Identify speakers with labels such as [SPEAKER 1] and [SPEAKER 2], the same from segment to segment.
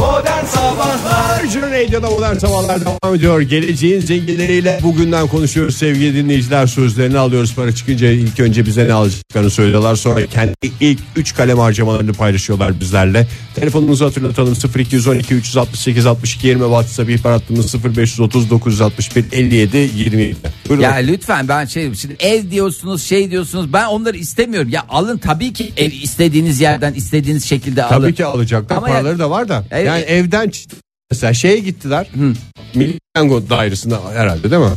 [SPEAKER 1] Modern Sabahlar Virgin Radio'da Modern Sabahlar devam ediyor. Geleceğin zenginleriyle bugünden konuşuyoruz sevgili dinleyiciler. Sözlerini alıyoruz para çıkınca ilk önce bize ne alacaklarını söylüyorlar. Sonra kendi ilk 3 kalem harcamalarını paylaşıyorlar bizlerle. Telefonumuzu hatırlatalım 0212 368 62 20 WhatsApp ihbar hattımız 0530 961 57 20. Buyurun.
[SPEAKER 2] Ya lütfen ben şey şimdi ev diyorsunuz şey diyorsunuz ben onları istemiyorum. Ya alın tabii ki ev istediğiniz yerden istediğiniz şekilde alın.
[SPEAKER 1] Tabii ki alacaklar.
[SPEAKER 2] Ama
[SPEAKER 1] Paraları
[SPEAKER 2] ya- e-
[SPEAKER 1] da var da.
[SPEAKER 2] Evet.
[SPEAKER 1] Yani evden çı- mesela şeye gittiler. Milli Piyango dairesinde herhalde değil mi?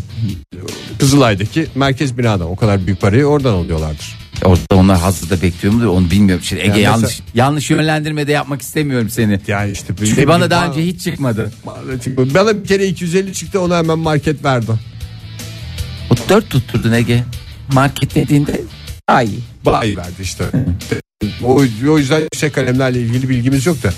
[SPEAKER 1] Kızılay'daki merkez binada o kadar büyük parayı oradan alıyorlardır.
[SPEAKER 2] Orada onlar hazırda bekliyor mu diyor, onu bilmiyorum. Şimdi Ege
[SPEAKER 1] Yani mesela-
[SPEAKER 2] yanlış yanlış yönlendirme de yapmak istemiyorum seni.
[SPEAKER 1] Yani işte bir-
[SPEAKER 2] Çünkü
[SPEAKER 1] bir-
[SPEAKER 2] bana daha önce hiç çıkmadı.
[SPEAKER 1] bana bir kere 250 çıktı ona hemen market verdi.
[SPEAKER 2] O dört tutturdun Ege. Market dediğinde ay.
[SPEAKER 1] Bayi verdi işte. o, o yüzden yüksek kalemlerle ilgili bilgimiz yok da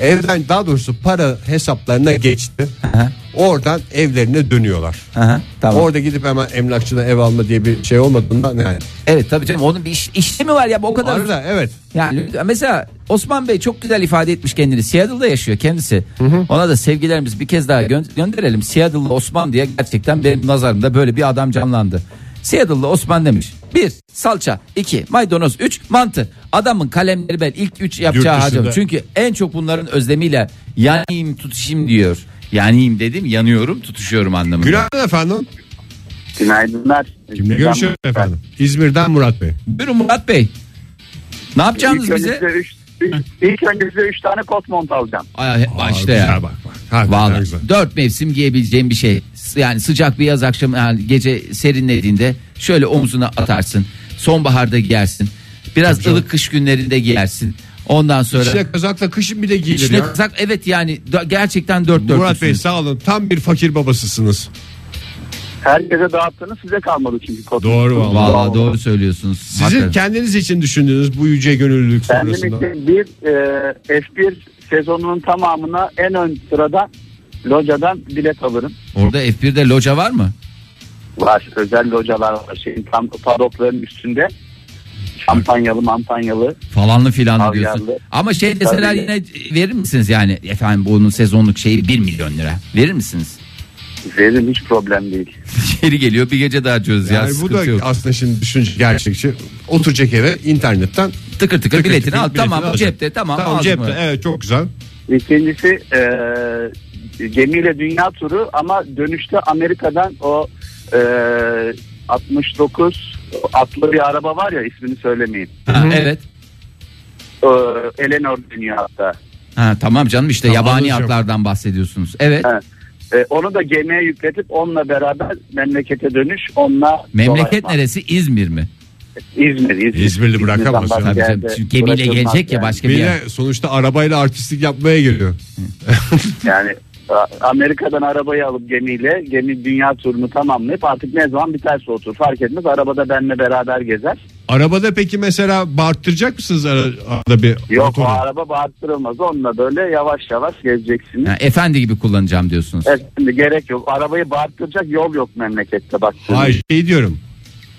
[SPEAKER 1] evden daha doğrusu para hesaplarına geçti.
[SPEAKER 2] Aha,
[SPEAKER 1] Oradan evlerine dönüyorlar.
[SPEAKER 2] aha, tamam.
[SPEAKER 1] Orada gidip hemen emlakçıda ev alma diye bir şey olmadığından yani.
[SPEAKER 2] evet tabii canım onun bir iş, işlemi var ya bu o kadar.
[SPEAKER 1] Arada evet.
[SPEAKER 2] Yani lütfen- mesela Osman Bey çok güzel ifade etmiş kendini. Seattle'da yaşıyor kendisi. Ona da sevgilerimiz bir kez daha gö- gönderelim. Seattle'lı Osman diye gerçekten benim nazarımda böyle bir adam canlandı. Seattle'lı Osman demiş. Bir salça, iki maydanoz, üç mantı. Adamın kalemleri ben ilk üç yapacağı
[SPEAKER 1] Yurt
[SPEAKER 2] harcam.
[SPEAKER 1] dışında.
[SPEAKER 2] Çünkü en çok bunların özlemiyle yanayım tutuşayım diyor. Yanayım dedim yanıyorum tutuşuyorum anlamında.
[SPEAKER 1] Günaydın efendim.
[SPEAKER 3] Günaydınlar.
[SPEAKER 1] Kimle görüşüyoruz efendim? İzmir'den Murat Bey.
[SPEAKER 2] Buyurun Murat Bey. Ne yapacağınız
[SPEAKER 3] İlk önce
[SPEAKER 2] bize?
[SPEAKER 3] size üç, üç- ilk önce size üç tane kot mont alacağım.
[SPEAKER 2] Ay,
[SPEAKER 1] Aa,
[SPEAKER 2] başta
[SPEAKER 1] güzel
[SPEAKER 2] ya.
[SPEAKER 1] Bak, bak. Hakikaten
[SPEAKER 2] Vallahi
[SPEAKER 1] güzel.
[SPEAKER 2] dört mevsim giyebileceğim bir şey. S- Yani sıcak bir yaz akşamı yani gece serinlediğinde şöyle omzuna atarsın. Sonbaharda giyersin. Biraz ılık kış günlerinde giyersin. Ondan sonra
[SPEAKER 1] İçine kazakla kışın bile giyilir
[SPEAKER 2] İçine
[SPEAKER 1] ya.
[SPEAKER 2] kazak evet yani d- gerçekten dört dört.
[SPEAKER 1] Murat Bey sağ olun. Tam bir fakir babasısınız.
[SPEAKER 3] Herkese dağıttınız size kalmadı çünkü kot.
[SPEAKER 1] Doğru vallahi.
[SPEAKER 2] Vallahi doğru söylüyorsunuz.
[SPEAKER 1] Sizin
[SPEAKER 2] Hakikaten.
[SPEAKER 1] kendiniz için düşündüğünüz bu yüce gönüllülük
[SPEAKER 3] Kendim
[SPEAKER 1] sonrasında.
[SPEAKER 3] için bir e, F1 sezonunun tamamına en ön sırada locadan bilet alırım.
[SPEAKER 2] Orada F1'de loca var mı?
[SPEAKER 3] Var özel localar var şeyin tam padokların üstünde. Şampanyalı mampanyalı.
[SPEAKER 2] Falanlı filanlı
[SPEAKER 3] Abi
[SPEAKER 2] diyorsun.
[SPEAKER 3] geldi.
[SPEAKER 2] Ama şey deseler
[SPEAKER 3] Tabii.
[SPEAKER 2] yine verir misiniz yani? Efendim bunun sezonluk şeyi 1 milyon lira. Verir misiniz?
[SPEAKER 3] Verim hiç problem değil.
[SPEAKER 2] Geri geliyor bir gece daha çöz ya.
[SPEAKER 1] Yani bu da
[SPEAKER 2] sıkıntı yok.
[SPEAKER 1] aslında şimdi düşünce gerçekçi. Oturacak eve internetten.
[SPEAKER 2] Tıkır tıkır biletini
[SPEAKER 1] tıkır
[SPEAKER 2] al.
[SPEAKER 1] biletini
[SPEAKER 2] tamam bu
[SPEAKER 1] alacak.
[SPEAKER 2] cepte tamam.
[SPEAKER 1] Tamam
[SPEAKER 2] aldım
[SPEAKER 1] cepte
[SPEAKER 2] onu.
[SPEAKER 1] evet çok güzel.
[SPEAKER 3] İkincisi e, gemiyle dünya turu ama dönüşte Amerika'dan o e, 69 atlı bir araba var ya ismini söylemeyeyim.
[SPEAKER 2] Ha, evet.
[SPEAKER 3] E, Eleanor dönüyor hatta.
[SPEAKER 2] Ha, tamam canım işte
[SPEAKER 1] Tamam,
[SPEAKER 2] yabani
[SPEAKER 1] alacağım.
[SPEAKER 2] atlardan bahsediyorsunuz. Evet.
[SPEAKER 3] Ha. E, onu da gemiye yükletip onunla beraber memlekete dönüş onunla
[SPEAKER 2] Memleket
[SPEAKER 3] dolaşmak.
[SPEAKER 2] neresi? İzmir mi?
[SPEAKER 3] İzmir. İzmir.
[SPEAKER 1] İzmirli bırakamaz
[SPEAKER 3] İzmir'den
[SPEAKER 1] ya.
[SPEAKER 2] Tabii
[SPEAKER 3] başka
[SPEAKER 2] canım.
[SPEAKER 3] yerde
[SPEAKER 2] Çünkü gemiyle
[SPEAKER 3] bırakılmaz
[SPEAKER 2] gelecek ya
[SPEAKER 3] yani.
[SPEAKER 2] başka
[SPEAKER 1] Bir
[SPEAKER 2] bir yer.
[SPEAKER 1] de sonuçta arabayla artistlik yapmaya geliyor.
[SPEAKER 3] Yani A- Amerika'dan arabayı alıp gemiyle gemi dünya turunu tamamlayıp artık ne zaman biterse otur fark etmez arabada benle beraber gezer.
[SPEAKER 1] Arabada peki mesela bağırttıracak mısınız ara- arada bir
[SPEAKER 3] Yok
[SPEAKER 1] motoru?
[SPEAKER 3] o araba bağırttırılmaz onunla böyle yavaş yavaş gezeceksiniz.
[SPEAKER 2] Ha, efendi gibi kullanacağım diyorsunuz. E,
[SPEAKER 3] Evet, şimdi gerek yok arabayı bağırttıracak yol yok memlekette bak.
[SPEAKER 1] Hayır şey diyorum.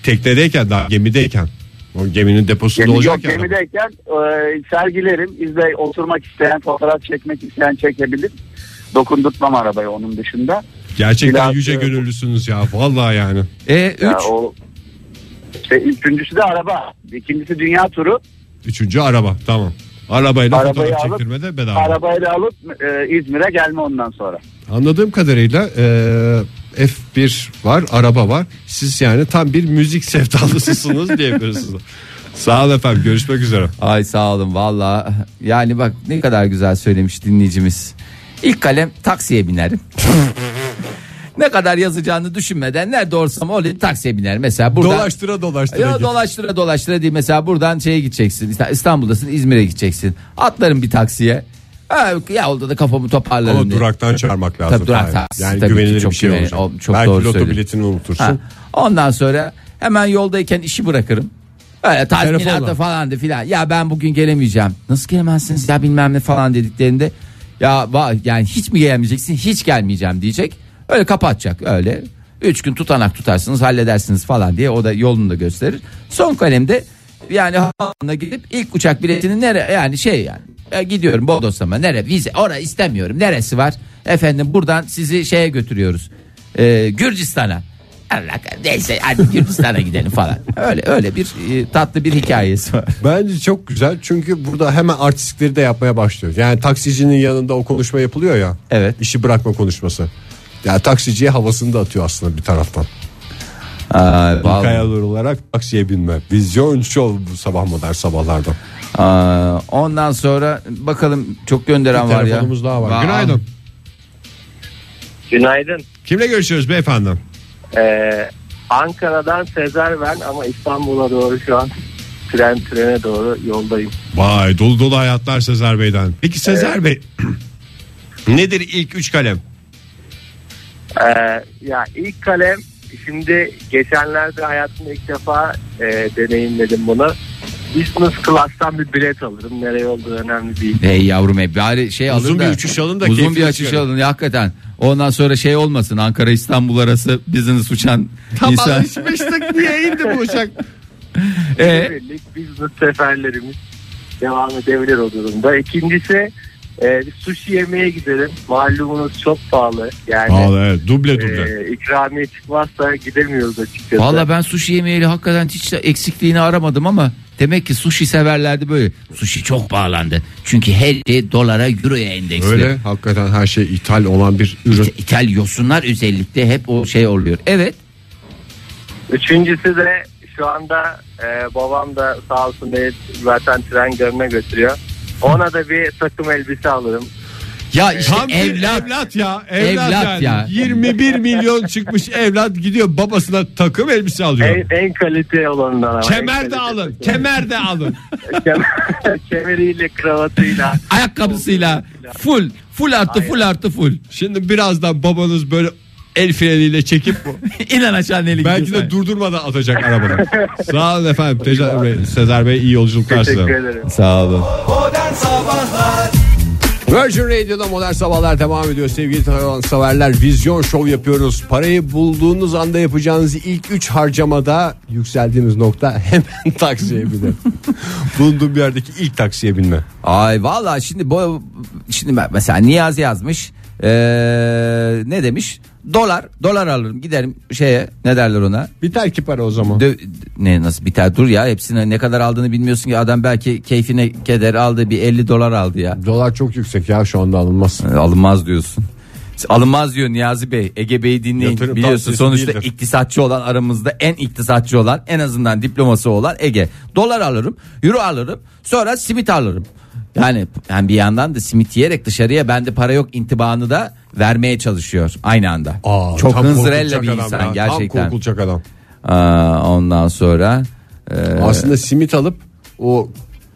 [SPEAKER 1] Teknedeyken daha gemideyken. O geminin deposunda
[SPEAKER 3] Gemi,
[SPEAKER 1] olacak
[SPEAKER 3] yok
[SPEAKER 1] ya.
[SPEAKER 3] gemideyken e, sergilerim izle oturmak isteyen fotoğraf çekmek isteyen çekebilir. Dokundurtmam arabayı onun dışında.
[SPEAKER 1] Gerçekten
[SPEAKER 3] Biraz,
[SPEAKER 1] yüce
[SPEAKER 3] e,
[SPEAKER 1] gönüllüsünüz ya. Vallahi yani.
[SPEAKER 2] E, üç.
[SPEAKER 3] Ya o, işte üçüncüsü de araba. İkincisi dünya turu.
[SPEAKER 1] Üçüncü araba. Tamam. Arabayla
[SPEAKER 3] Arabayı
[SPEAKER 1] fotoğraf
[SPEAKER 3] alıp-
[SPEAKER 1] çektirme de bedava.
[SPEAKER 3] Arabayla alıp e, İzmir'e gelme ondan sonra.
[SPEAKER 1] Anladığım kadarıyla e, F1 var, araba var. Siz yani tam bir müzik sevdalısısınız diyebiliriz. Sağ olun efendim. Görüşmek üzere.
[SPEAKER 2] Ay sağ olun valla. Yani bak ne kadar güzel söylemiş dinleyicimiz. İlk kalem taksiye binerim. ne kadar yazacağını düşünmeden nerede olursam olayım taksiye binerim. Mesela buradan...
[SPEAKER 1] Dolaştıra dolaştıra.
[SPEAKER 2] Ya
[SPEAKER 1] git.
[SPEAKER 2] dolaştıra dolaştıra değil mesela buradan şeye gideceksin İsta- İstanbul'dasın İzmir'e gideceksin atlarım bir taksiye Ha, ya orada da kafamı toparlarım
[SPEAKER 1] Ama
[SPEAKER 2] diye.
[SPEAKER 1] duraktan çağırmak lazım.
[SPEAKER 2] Tabii durak
[SPEAKER 1] Fahir.
[SPEAKER 2] taksi,
[SPEAKER 1] yani
[SPEAKER 2] tabii ki
[SPEAKER 1] güvenilir
[SPEAKER 2] çok
[SPEAKER 1] bir şey
[SPEAKER 2] güvenilir.
[SPEAKER 1] olacak.
[SPEAKER 2] O- çok
[SPEAKER 1] Belki
[SPEAKER 2] doğru
[SPEAKER 1] loto
[SPEAKER 2] söylüyorsun.
[SPEAKER 1] biletini unutursun.
[SPEAKER 2] Ha, ondan sonra hemen yoldayken işi bırakırım öyle tazminatı
[SPEAKER 1] Telefonla.
[SPEAKER 2] falan da filan ya ben bugün gelemeyeceğim nasıl gelemezsiniz ya bilmem ne falan dediklerinde ya va- yani hiç mi gelemeyeceksin hiç gelmeyeceğim diyecek öyle kapatacak öyle Üç gün tutanak tutarsınız halledersiniz falan diye o da yolunu da gösterir son kalemde yani havaalanına gidip ilk uçak biletini nereye yani şey yani E, gidiyorum Bodoslama. Nere? Vize. Ora istemiyorum. Neresi var? Efendim buradan sizi şeye götürüyoruz. E, Gürcistan'a. Allah kah- neyse hadi Gürcistan'a gidelim falan. Öyle öyle bir e, tatlı bir hikayesi var.
[SPEAKER 1] Bence çok güzel çünkü burada hemen artistlikleri de yapmaya başlıyor. Yani taksicinin yanında o konuşma yapılıyor ya.
[SPEAKER 2] Evet.
[SPEAKER 1] İşi bırakma konuşması. Yani taksiciye havasını da atıyor aslında bir taraftan.
[SPEAKER 2] Aa, vallahi.
[SPEAKER 1] Kayalar olarak taksiye binme. Vizyon show bu sabah modern sabahlarda.
[SPEAKER 2] Aa, ondan sonra bakalım çok gönderen var ya.
[SPEAKER 1] Telefonumuz daha var.
[SPEAKER 2] Vay.
[SPEAKER 1] Günaydın.
[SPEAKER 4] Günaydın.
[SPEAKER 1] Kimle görüşüyoruz beyefendi?
[SPEAKER 4] Ee, Ankara'dan Sezer ben ama İstanbul'a doğru şu an tren trene doğru yoldayım.
[SPEAKER 1] Vay dolu dolu hayatlar Sezer Bey'den. Peki Sezer Bey nedir ilk üç kalem?
[SPEAKER 4] Ee, ya ilk kalem şimdi geçenlerde hayatımda ilk defa e, deneyimledim bunu. Business class'tan bir bilet alırım. Nereye olduğu önemli değil.
[SPEAKER 2] Ey yavrum ey bari şey alın
[SPEAKER 1] Uzun
[SPEAKER 2] da.
[SPEAKER 1] bir uçuş alın da
[SPEAKER 2] Uzun bir
[SPEAKER 1] keyfini
[SPEAKER 2] uçuş
[SPEAKER 1] çıkarın.
[SPEAKER 2] alın ya, hakikaten. Ondan sonra şey olmasın Ankara İstanbul arası business uçan insan.
[SPEAKER 1] alışmıştık diye indi bu uçak.
[SPEAKER 2] Ee,
[SPEAKER 4] Birlik business seferlerimiz devam edebilir o durumda. İkincisi e, bir sushi yemeye gidelim. Malumunuz çok pahalı. Yani
[SPEAKER 1] evet duble
[SPEAKER 4] Ee, ikramiye çıkmazsa gidemiyoruz açıkçası.
[SPEAKER 2] Valla ben sushi yemeyeli hakikaten hiç de eksikliğini aramadım ama demek ki sushi severlerdi böyle. Sushi çok bağlandı. Çünkü her şey dolara euroya endeksli.
[SPEAKER 1] Öyle hakikaten her şey ithal olan bir ürün.
[SPEAKER 2] İ- İthal yosunlar özellikle hep o şey oluyor. Evet.
[SPEAKER 4] Üçüncüsü de şu anda e, babam da sağ olsun beni zaten tren görme götürüyor. Ona da bir takım elbise alırım.
[SPEAKER 2] Ya işte
[SPEAKER 1] Tam bir
[SPEAKER 2] evlat.
[SPEAKER 1] evlat ya.
[SPEAKER 2] Evlat
[SPEAKER 1] Evlat, yani.
[SPEAKER 2] ya.
[SPEAKER 1] 21 milyon çıkmış evlat gidiyor babasına takım elbise alıyor.
[SPEAKER 4] En, en kalite olanından ama. En
[SPEAKER 1] kemer de
[SPEAKER 4] kalite-
[SPEAKER 1] alın. Kemer de alın.
[SPEAKER 4] Kemer- Kemeriyle, kravatıyla.
[SPEAKER 2] Ayakkabısıyla full full artı full artı full.
[SPEAKER 1] Şimdi birazdan babanız böyle el freniyle çekip bu.
[SPEAKER 2] İnan aşağı neyle
[SPEAKER 1] Belki
[SPEAKER 2] gidiyorsun?
[SPEAKER 1] de durdurmadan atacak arabadan. Sağ olun efendim. Teşekkür ederim. Sezer Bey iyi yolculuklar size.
[SPEAKER 4] Teşekkür ederim.
[SPEAKER 2] Sağ olun.
[SPEAKER 1] Virgin Radio'da modern sabahlar devam ediyor sevgili Tarhan severler. Vizyon şov yapıyoruz. Parayı bulduğunuz anda yapacağınız ilk 3 harcamada yükseldiğiniz nokta hemen taksiye binin. Bulunduğum bir yerdeki ilk taksiye binme.
[SPEAKER 2] Ay vallahi şimdi bu şimdi ben- mesela Niyaz yazmış. Ee, ne demiş? Dolar, dolar alırım giderim şeye ne derler ona?
[SPEAKER 1] Biter ki para o zaman.
[SPEAKER 2] Dö- ne nasıl biter dur ya hepsine ne kadar aldığını bilmiyorsun ki adam belki keyfine keder aldı bir 50 dolar aldı ya.
[SPEAKER 1] Dolar çok yüksek ya şu anda alınmaz.
[SPEAKER 2] E, Alınmaz diyorsun. Alınmaz diyor Niyazi Bey. Ege Bey'i dinleyin.
[SPEAKER 1] Yatırım
[SPEAKER 2] Biliyorsun
[SPEAKER 1] tavsiyesi
[SPEAKER 2] sonuçta
[SPEAKER 1] değildir.
[SPEAKER 2] iktisatçı olan aramızda en iktisatçı olan en azından diploması olan Ege. Dolar alırım, euro alırım, sonra simit alırım. Yani, yani bir yandan da simit yiyerek dışarıya bende para yok intibanı da vermeye çalışıyor aynı anda.
[SPEAKER 1] Aa,
[SPEAKER 2] Çok
[SPEAKER 1] tam
[SPEAKER 2] hınzırella
[SPEAKER 1] korkulacak
[SPEAKER 2] bir
[SPEAKER 1] adam
[SPEAKER 2] insan
[SPEAKER 1] ya. Tam
[SPEAKER 2] gerçekten.
[SPEAKER 1] korkulacak adam.
[SPEAKER 2] Aa, ondan sonra e,
[SPEAKER 1] Aslında simit alıp o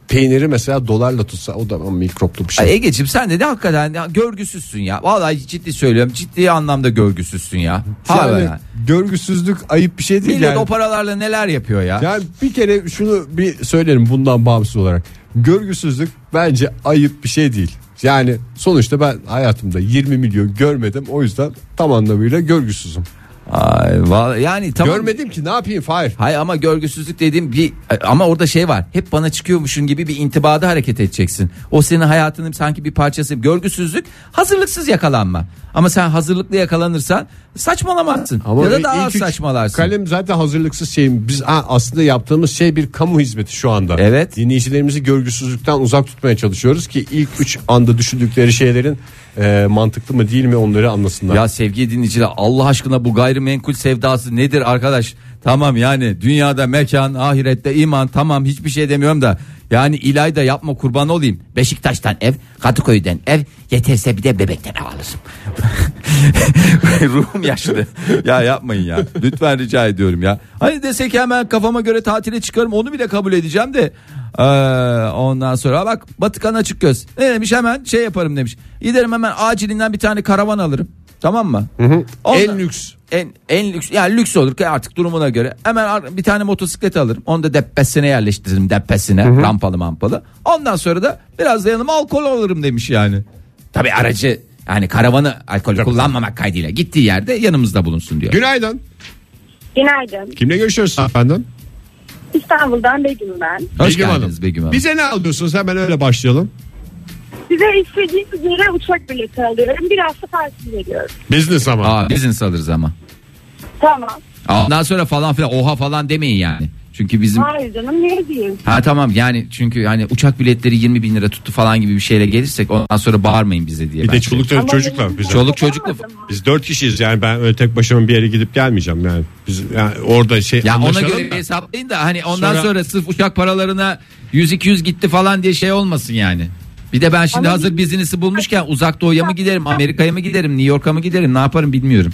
[SPEAKER 1] peyniri mesela dolarla tutsa o da mikroplu bir şey.
[SPEAKER 2] Ay Ege'cim sen de, de hakikaten ya görgüsüzsün ya. Vallahi ciddi söylüyorum ciddi anlamda görgüsüzsün ya. Ha
[SPEAKER 1] Yani
[SPEAKER 2] yani.
[SPEAKER 1] görgüsüzlük ayıp bir şey değil
[SPEAKER 2] Millet
[SPEAKER 1] yani.
[SPEAKER 2] o paralarla neler yapıyor ya.
[SPEAKER 1] Yani bir kere şunu bir söylerim bundan bağımsız olarak. Görgüsüzlük bence ayıp bir şey değil. Yani sonuçta ben hayatımda 20 milyon görmedim o yüzden tam anlamıyla görgüsüzüm.
[SPEAKER 2] Ay, vallahi yani tamam.
[SPEAKER 1] Görmedim ki ne yapayım Fahir.
[SPEAKER 2] Hayır ama görgüsüzlük dediğim bir ama orada şey var. Hep bana çıkıyormuşsun gibi bir intibada hareket edeceksin. O senin hayatının sanki bir parçası. Görgüsüzlük hazırlıksız yakalanma. Ama sen hazırlıklı yakalanırsan saçmalamazsın. ya da daha
[SPEAKER 1] ilk
[SPEAKER 2] az
[SPEAKER 1] üç
[SPEAKER 2] saçmalarsın.
[SPEAKER 1] Kalem zaten hazırlıksız şeyim. Biz ha, aslında yaptığımız şey bir kamu hizmeti şu anda.
[SPEAKER 2] Evet.
[SPEAKER 1] Dinleyicilerimizi görgüsüzlükten uzak tutmaya çalışıyoruz ki ilk üç anda düşündükleri şeylerin e, mantıklı mı değil mi onları anlasınlar.
[SPEAKER 2] Ya sevgili dinleyiciler Allah aşkına bu gayrimenkul sevdası nedir arkadaş? Tamam yani dünyada mekan, ahirette iman tamam hiçbir şey demiyorum da. Yani İlayda yapma kurban olayım. Beşiktaş'tan ev, Kadıköy'den ev, yeterse bir de bebekten ev alırım. Ruhum yaşlı. ya yapmayın ya. Lütfen rica ediyorum ya. Hani desek hemen kafama göre tatile çıkarım onu bile kabul edeceğim de. Ee, ondan sonra bak Batıkan açık göz. Ne demiş hemen şey yaparım demiş. Giderim hemen acilinden bir tane karavan alırım. Tamam mı? Ondan-
[SPEAKER 1] En lüks.
[SPEAKER 2] En, en lüks yani lüks olur ki artık durumuna göre. Hemen ar- bir tane motosiklet alırım. Onu da deppesine yerleştiririm deppesine. Rampalı mampalı. Ondan sonra da biraz da yanıma alkol alırım demiş yani. Tabi aracı yani karavanı alkol kullanmamak kaydıyla gittiği yerde yanımızda bulunsun diyor.
[SPEAKER 1] Günaydın.
[SPEAKER 5] Günaydın.
[SPEAKER 1] Kimle görüşüyoruz efendim?
[SPEAKER 5] İstanbul'dan Begüm ben.
[SPEAKER 2] Hoş
[SPEAKER 1] Begüm
[SPEAKER 2] geldiniz Begüm Hanım.
[SPEAKER 1] Bize ne alıyorsunuz hemen öyle başlayalım.
[SPEAKER 5] Size istediğiniz yere uçak bileti alıyorum. Bir hafta tatil veriyorum.
[SPEAKER 1] Business ama.
[SPEAKER 2] Aa business alırız ama.
[SPEAKER 5] Tamam.
[SPEAKER 2] Aa, Ondan sonra falan filan oha falan demeyin yani. Çünkü bizim
[SPEAKER 5] Hayır canım ne diyeyim.
[SPEAKER 2] Ha tamam yani çünkü hani uçak biletleri 20 bin lira tuttu falan gibi bir şeyle gelirsek ondan sonra bağırmayın bize diye.
[SPEAKER 1] Bir de
[SPEAKER 2] bence.
[SPEAKER 1] çoluk
[SPEAKER 5] Ama
[SPEAKER 1] çocuklar.
[SPEAKER 5] benim
[SPEAKER 1] Biz,
[SPEAKER 2] şey- Çoluk çocuklu.
[SPEAKER 5] Olmadı mı?
[SPEAKER 1] biz dört kişiyiz yani ben öyle tek başıma bir yere gidip gelmeyeceğim yani. Biz yani orada şey
[SPEAKER 2] Ya ona
[SPEAKER 1] anlaşalım
[SPEAKER 2] göre bir
[SPEAKER 1] da.
[SPEAKER 2] hesaplayın da hani ondan sonra,
[SPEAKER 1] Sonra-
[SPEAKER 2] sırf uçak paralarına 100-200 gitti falan diye şey olmasın yani. Bir de ben şimdi
[SPEAKER 5] Ama-
[SPEAKER 2] hazır bizinesi bulmuşken uzak doğuya mı giderim, Amerika'ya mı giderim, New York'a mı giderim ne yaparım bilmiyorum.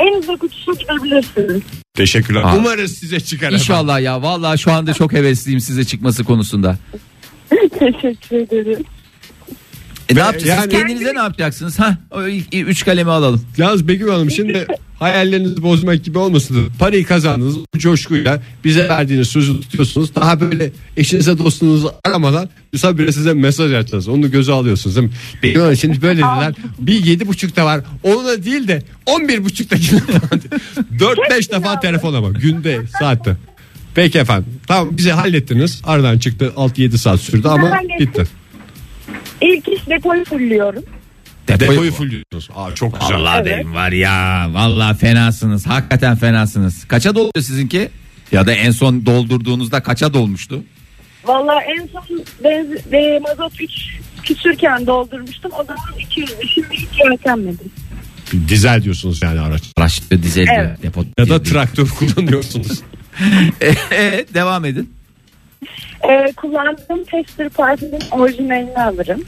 [SPEAKER 5] En uzak uçuşa gidebilirsiniz.
[SPEAKER 1] Teşekkürler.
[SPEAKER 2] Aa.
[SPEAKER 1] Umarız size çıkar. efendim.
[SPEAKER 2] İnşallah ya vallahi şu anda çok hevesliyim size çıkması konusunda.
[SPEAKER 5] Teşekkür ederim.
[SPEAKER 2] E, ne
[SPEAKER 1] Ve-
[SPEAKER 2] yapacaksınız?
[SPEAKER 1] yani-
[SPEAKER 2] Kendinize ne yapacaksınız? Ha, o ilk- üç kalemi alalım.
[SPEAKER 1] Yalnız Begüm Hanım şimdi hayallerinizi bozmak gibi olmasın. da Parayı kazandınız bu coşkuyla bize verdiğiniz sözü tutuyorsunuz. Daha böyle eşinize dostunuzu aramadan Yusuf bile size mesaj atacağız. Onu göze alıyorsunuz değil mi? Begüm Hanım şimdi böyle dediler. Bir yedi buçukta var. Onu da değil de on bir buçukta Dört beş defa telefon ama günde saatte. Peki efendim. Tamam bizi hallettiniz. Aradan çıktı 6-7 saat sürdü ama
[SPEAKER 5] Hemen geçtim.
[SPEAKER 1] gitti.
[SPEAKER 5] İlk iş depoyu fulluyorum.
[SPEAKER 1] Depoyu fulluyorsunuz. Aa çok güzel.
[SPEAKER 2] Allah derim var ya. Vallahi fenasınız. Hakikaten fenasınız. Kaça doluyor sizinki? Ya da en son doldurduğunuzda kaça dolmuştu?
[SPEAKER 5] Valla en son benz, e, mazot 3 küsürken doldurmuştum. O zaman 200 Şimdi hiç yöntemledim.
[SPEAKER 1] Dizel diyorsunuz yani araç.
[SPEAKER 2] Araç dizel
[SPEAKER 5] Evet.
[SPEAKER 2] depo.
[SPEAKER 1] Ya da traktör kullanıyorsunuz.
[SPEAKER 2] Ee, devam edin.
[SPEAKER 5] E, kullandığım tester parfümün orijinalini alırım.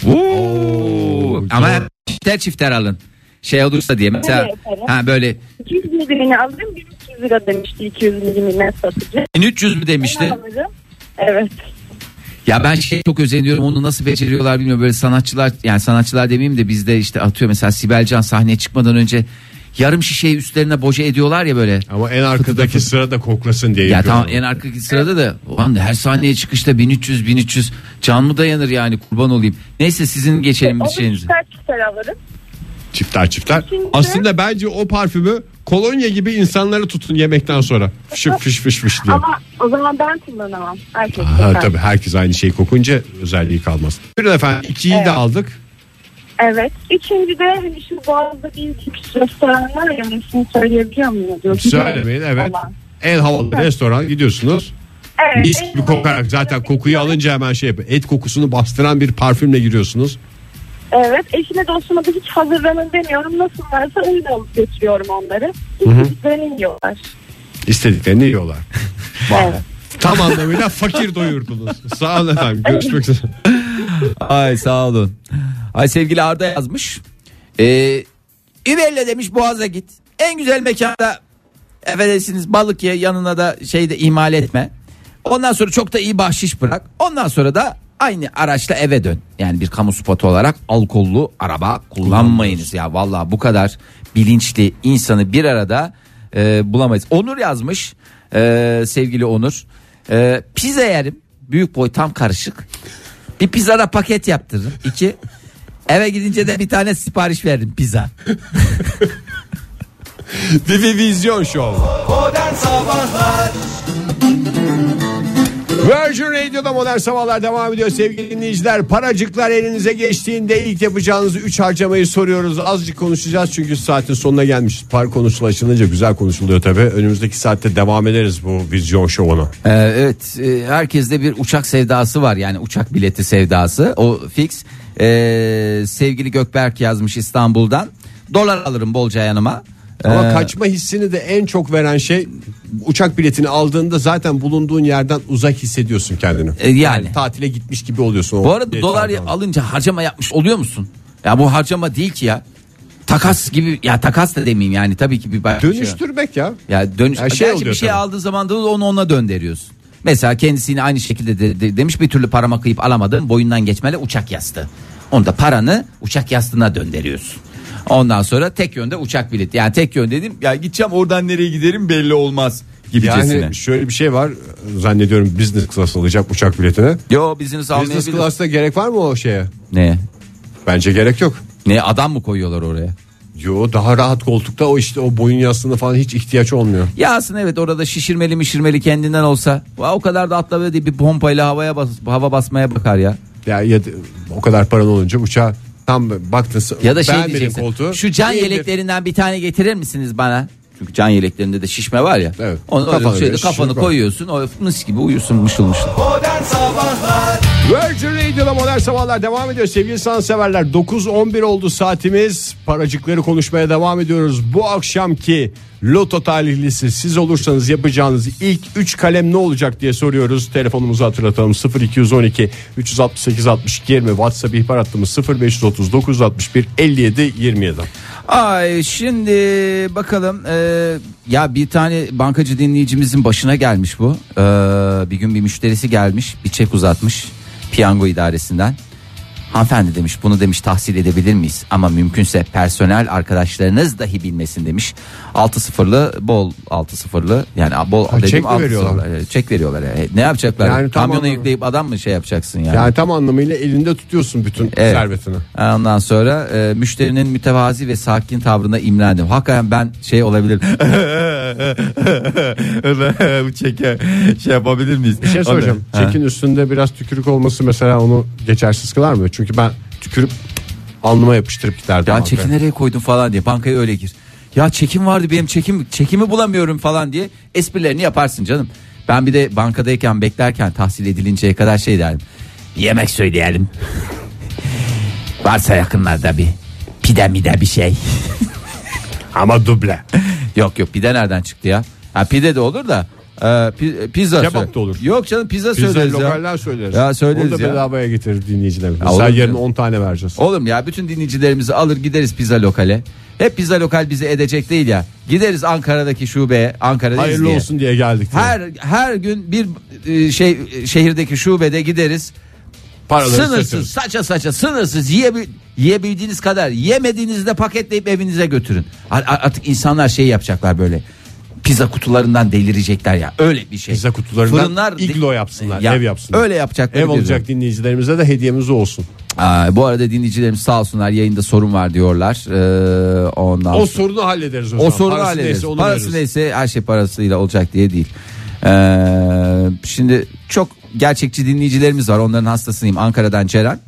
[SPEAKER 1] Oo,
[SPEAKER 2] Ama
[SPEAKER 1] doğru.
[SPEAKER 2] çifter çifter alın. Şey olursa diye mesela
[SPEAKER 5] Evet, evet.
[SPEAKER 2] ha böyle
[SPEAKER 5] 200 milimini alırım. 1200 lira demişti 200 milimine satıcı.
[SPEAKER 2] 1300 mü
[SPEAKER 5] Ne
[SPEAKER 2] demişti?
[SPEAKER 5] alırım? Evet.
[SPEAKER 2] Ya ben şey çok özeniyorum onu nasıl beceriyorlar bilmiyorum böyle sanatçılar yani sanatçılar demeyeyim de bizde işte atıyor mesela Sibel Can sahneye çıkmadan önce yarım şişeyi üstlerine boca ediyorlar ya böyle.
[SPEAKER 1] Ama en arkadaki sıra da koklasın diye
[SPEAKER 2] Ya
[SPEAKER 1] yapıyorum.
[SPEAKER 2] tamam en arkadaki sırada da ulan her sahneye çıkışta 1300 1300 can mı dayanır yani kurban olayım. Neyse sizin geçelim bir
[SPEAKER 5] Onu
[SPEAKER 2] şeyinizi.
[SPEAKER 5] çıkar çıkar alırım.
[SPEAKER 1] Çiftler çiftler.
[SPEAKER 5] Üçüncü-
[SPEAKER 1] Aslında bence o parfümü kolonya gibi insanları tutun yemekten sonra. Fışık fış fış fış diye.
[SPEAKER 5] Ama o zaman ben kullanamam. Erkek
[SPEAKER 1] Ha,
[SPEAKER 5] sefer.
[SPEAKER 1] tabii herkes aynı şeyi kokunca özelliği kalmaz. Buyurun efendim ikiyi de aldık.
[SPEAKER 5] Evet. Üçüncü de hani şu Boğaz'da bir küçük restoran var ya hani ismini söyleyebiliyor muyum? Diyor.
[SPEAKER 1] Söylemeyin evet.
[SPEAKER 5] Olan.
[SPEAKER 1] En havalı restoran gidiyorsunuz.
[SPEAKER 5] Evet.
[SPEAKER 1] Mis gibi kokarak zaten kokuyu alınca hemen şey yapın. Et kokusunu bastıran bir parfümle giriyorsunuz.
[SPEAKER 5] Evet. Eşine dostuma da hiç hazırlanın demiyorum. Nasıl varsa öyle alıp götürüyorum onları. İstediklerini yiyorlar.
[SPEAKER 1] İstediklerini yiyorlar. Vay.
[SPEAKER 5] Evet.
[SPEAKER 1] Tam anlamıyla fakir doyurdunuz. Sağ olun efendim. Görüşmek üzere.
[SPEAKER 2] Ay sağ olun. Ay sevgili Arda yazmış. Ee, İvelle demiş Boğaz'a git. En güzel mekanda affedersiniz balık ye yanına da şey de ihmal etme. Ondan sonra çok da iyi bahşiş bırak. Ondan sonra da aynı araçla eve dön. Yani bir kamu spotu olarak alkollü araba kullanmayınız ya. Vallahi bu kadar bilinçli insanı bir arada e, bulamayız. Onur yazmış e, sevgili Onur. E, pizza yerim büyük boy tam karışık. Bir pizzada paket yaptırdım. İki. Eve gidince de bir tane sipariş verdim pizza.
[SPEAKER 1] Divivizyon Show. Virgin Radio'da modern sabahlar devam ediyor sevgili dinleyiciler. Paracıklar elinize geçtiğinde ilk yapacağınız 3 harcamayı soruyoruz. Azıcık konuşacağız çünkü saatin sonuna gelmişiz. Par konusu açılınca güzel konuşuluyor tabii. Önümüzdeki saatte devam ederiz bu vizyon şovuna.
[SPEAKER 2] Ee, evet e, herkeste bir uçak sevdası var yani uçak bileti sevdası o fix. Ee, sevgili Gökberk yazmış İstanbul'dan. Dolar alırım bolca yanıma.
[SPEAKER 1] Ama
[SPEAKER 2] Ee,
[SPEAKER 1] kaçma hissini de en çok veren şey uçak biletini aldığında zaten bulunduğun yerden uzak hissediyorsun kendini.
[SPEAKER 2] E, yani.
[SPEAKER 1] tatile gitmiş gibi oluyorsun. o
[SPEAKER 2] Bu arada
[SPEAKER 1] bilet
[SPEAKER 2] dolar
[SPEAKER 1] aldığında.
[SPEAKER 2] alınca harcama yapmış oluyor musun? Ya bu harcama değil ki ya. Takas gibi ya takas da demeyeyim yani tabii ki bir başka şey var.
[SPEAKER 1] dönüştürmek ya.
[SPEAKER 2] Ya dönüş
[SPEAKER 1] Ya şey
[SPEAKER 2] Gerçi bir
[SPEAKER 1] oluyor
[SPEAKER 2] şey
[SPEAKER 1] tabii.
[SPEAKER 2] aldığı zaman da onu ona döndürüyorsun. Mesela kendisini aynı şekilde de- de- demiş bir türlü parama kıyıp alamadım boyundan geçmeli uçak yastığı. Onu da paranı uçak yastığına döndürüyorsun. Ondan sonra tek yönde uçak bileti. Yani tek yön dedim ya gideceğim oradan nereye giderim belli olmaz gibicesine.
[SPEAKER 1] Yani şöyle bir şey var zannediyorum business class alacak uçak biletine.
[SPEAKER 2] Yo business
[SPEAKER 1] Business
[SPEAKER 2] almayabilir.
[SPEAKER 1] class'ta gerek var mı o şeye?
[SPEAKER 2] Ne?
[SPEAKER 1] Bence gerek yok.
[SPEAKER 2] Ne adam mı koyuyorlar oraya?
[SPEAKER 1] Yo daha rahat koltukta o işte o boyun yastığına falan hiç ihtiyaç olmuyor.
[SPEAKER 2] Ya aslında evet orada şişirmeli mişirmeli kendinden olsa. Va, O kadar da atla böyle bir pompayla havaya bas, hava basmaya bakar ya.
[SPEAKER 1] Ya, ya da o kadar paran olunca uçağa tam baktın
[SPEAKER 2] Ya da şey
[SPEAKER 1] beğenmedin
[SPEAKER 2] diyeceksin.
[SPEAKER 1] koltuğu.
[SPEAKER 2] Şu can
[SPEAKER 1] İyidir.
[SPEAKER 2] yeleklerinden bir tane getirir misiniz bana? Çünkü can yeleklerinde de şişme var ya.
[SPEAKER 1] Evet.
[SPEAKER 2] Onu öyle
[SPEAKER 1] Kafanı
[SPEAKER 2] şeyde
[SPEAKER 1] böyle
[SPEAKER 2] kafanı
[SPEAKER 1] şişirip
[SPEAKER 2] koyuyorsun. O mis gibi uyusun mışıl mışıl.
[SPEAKER 1] Virgin Radio'da modern sabahlar devam ediyor sevgili sanatseverler. 9.11 oldu saatimiz. Paracıkları konuşmaya devam ediyoruz. Bu akşamki loto talihlisi siz olursanız yapacağınız ilk 3 kalem ne olacak diye soruyoruz. Telefonumuzu hatırlatalım 0212 368 62 20 WhatsApp ihbar hattımız 0539 61 57 27.
[SPEAKER 2] Ay şimdi bakalım eee, ya bir tane bankacı dinleyicimizin başına gelmiş bu. Eee, bir gün bir müşterisi gelmiş bir çek uzatmış piyango idaresinden. Hanımefendi demiş bunu demiş tahsil edebilir miyiz? Ama mümkünse personel arkadaşlarınız dahi bilmesin demiş. 6 sıfırlı bol 6 sıfırlı yani bol
[SPEAKER 1] Ha, çek mi
[SPEAKER 2] altı
[SPEAKER 1] veriyorlar?
[SPEAKER 2] sıfırlı, evet, çek veriyorlar. E, Ne yapacaklar?
[SPEAKER 1] Yani tam
[SPEAKER 2] Kamyona
[SPEAKER 1] anlamı-
[SPEAKER 2] yükleyip adam mı şey yapacaksın yani?
[SPEAKER 1] Yani tam anlamıyla elinde tutuyorsun bütün
[SPEAKER 2] Evet.
[SPEAKER 1] servetini.
[SPEAKER 2] Ondan sonra e, müşterinin mütevazi ve sakin tavrına imrendim. Hakikaten ben şey olabilir. Çeke şey yapabilir miyiz?
[SPEAKER 1] Bir şey soracağım. Çekin üstünde biraz tükürük olması mesela onu geçersiz kılar mı? Çünkü ben tükürüp alnıma yapıştırıp giderdim.
[SPEAKER 2] Ya
[SPEAKER 1] bankaya.
[SPEAKER 2] çeki nereye koydun falan diye bankaya öyle gir. Ya çekim vardı benim çekim çekimi bulamıyorum falan diye esprilerini yaparsın canım. Ben bir de bankadayken beklerken tahsil edilinceye kadar şey derdim. Yemek söyleyelim. Varsa yakınlarda bir pide mide bir şey.
[SPEAKER 1] Ama duble.
[SPEAKER 2] Yok yok pide nereden çıktı ya? Ha pide de olur da e, pi- pizza
[SPEAKER 1] Kebap
[SPEAKER 2] söyle-
[SPEAKER 1] da olur.
[SPEAKER 2] Yok canım pizza,
[SPEAKER 1] Biz de
[SPEAKER 2] söyleriz ya.
[SPEAKER 1] lokaller söyleriz.
[SPEAKER 2] şey Ya söyleriz
[SPEAKER 1] Onu da
[SPEAKER 2] ya.
[SPEAKER 1] bedavaya getirir dinleyicilerimiz.
[SPEAKER 2] Ya
[SPEAKER 1] Sen
[SPEAKER 2] olur mu
[SPEAKER 1] yarın
[SPEAKER 2] canım?
[SPEAKER 1] 10 tane vereceğiz.
[SPEAKER 2] Oğlum ya bütün dinleyicilerimizi alır gideriz pizza lokale. Hep pizza lokal bizi edecek değil ya. Gideriz Ankara'daki şubeye. Ankara'da
[SPEAKER 1] Hayırlı olsun diye geldik. diye.
[SPEAKER 2] Her her gün bir e, şey e, şehirdeki şubede gideriz.
[SPEAKER 1] Paraları
[SPEAKER 2] sınırsız
[SPEAKER 1] seçeriz.
[SPEAKER 2] saça saça sınırsız yiyebil, yiyebildiğiniz kadar yemediğinizde paketleyip evinize götürün. A- a- Artık insanlar şey yapacaklar böyle. Pizza kutularından delirecekler ya. Öyle bir şey.
[SPEAKER 1] Pizza kutularından
[SPEAKER 2] Fırınlar de-
[SPEAKER 1] iglo yapsınlar,
[SPEAKER 2] Ya,
[SPEAKER 1] ev yapsınlar.
[SPEAKER 2] Öyle yapacaklar.
[SPEAKER 1] Ev olacak dinleyicilerimize de hediyemiz olsun.
[SPEAKER 2] Aa, bu arada dinleyicilerimiz sağ olsunlar yayında sorun var diyorlar. Ee, ondan
[SPEAKER 1] O
[SPEAKER 2] sonra-
[SPEAKER 1] sorunu hallederiz o,
[SPEAKER 2] o
[SPEAKER 1] zaman.
[SPEAKER 2] sorunu
[SPEAKER 1] Parası
[SPEAKER 2] hallederiz.
[SPEAKER 1] neyse onu
[SPEAKER 2] Parası
[SPEAKER 1] veririz.
[SPEAKER 2] neyse her şey parasıyla olacak diye değil. Ee, şimdi çok gerçekçi dinleyicilerimiz var. Onların hastasıyım. Ankara'dan Ceren.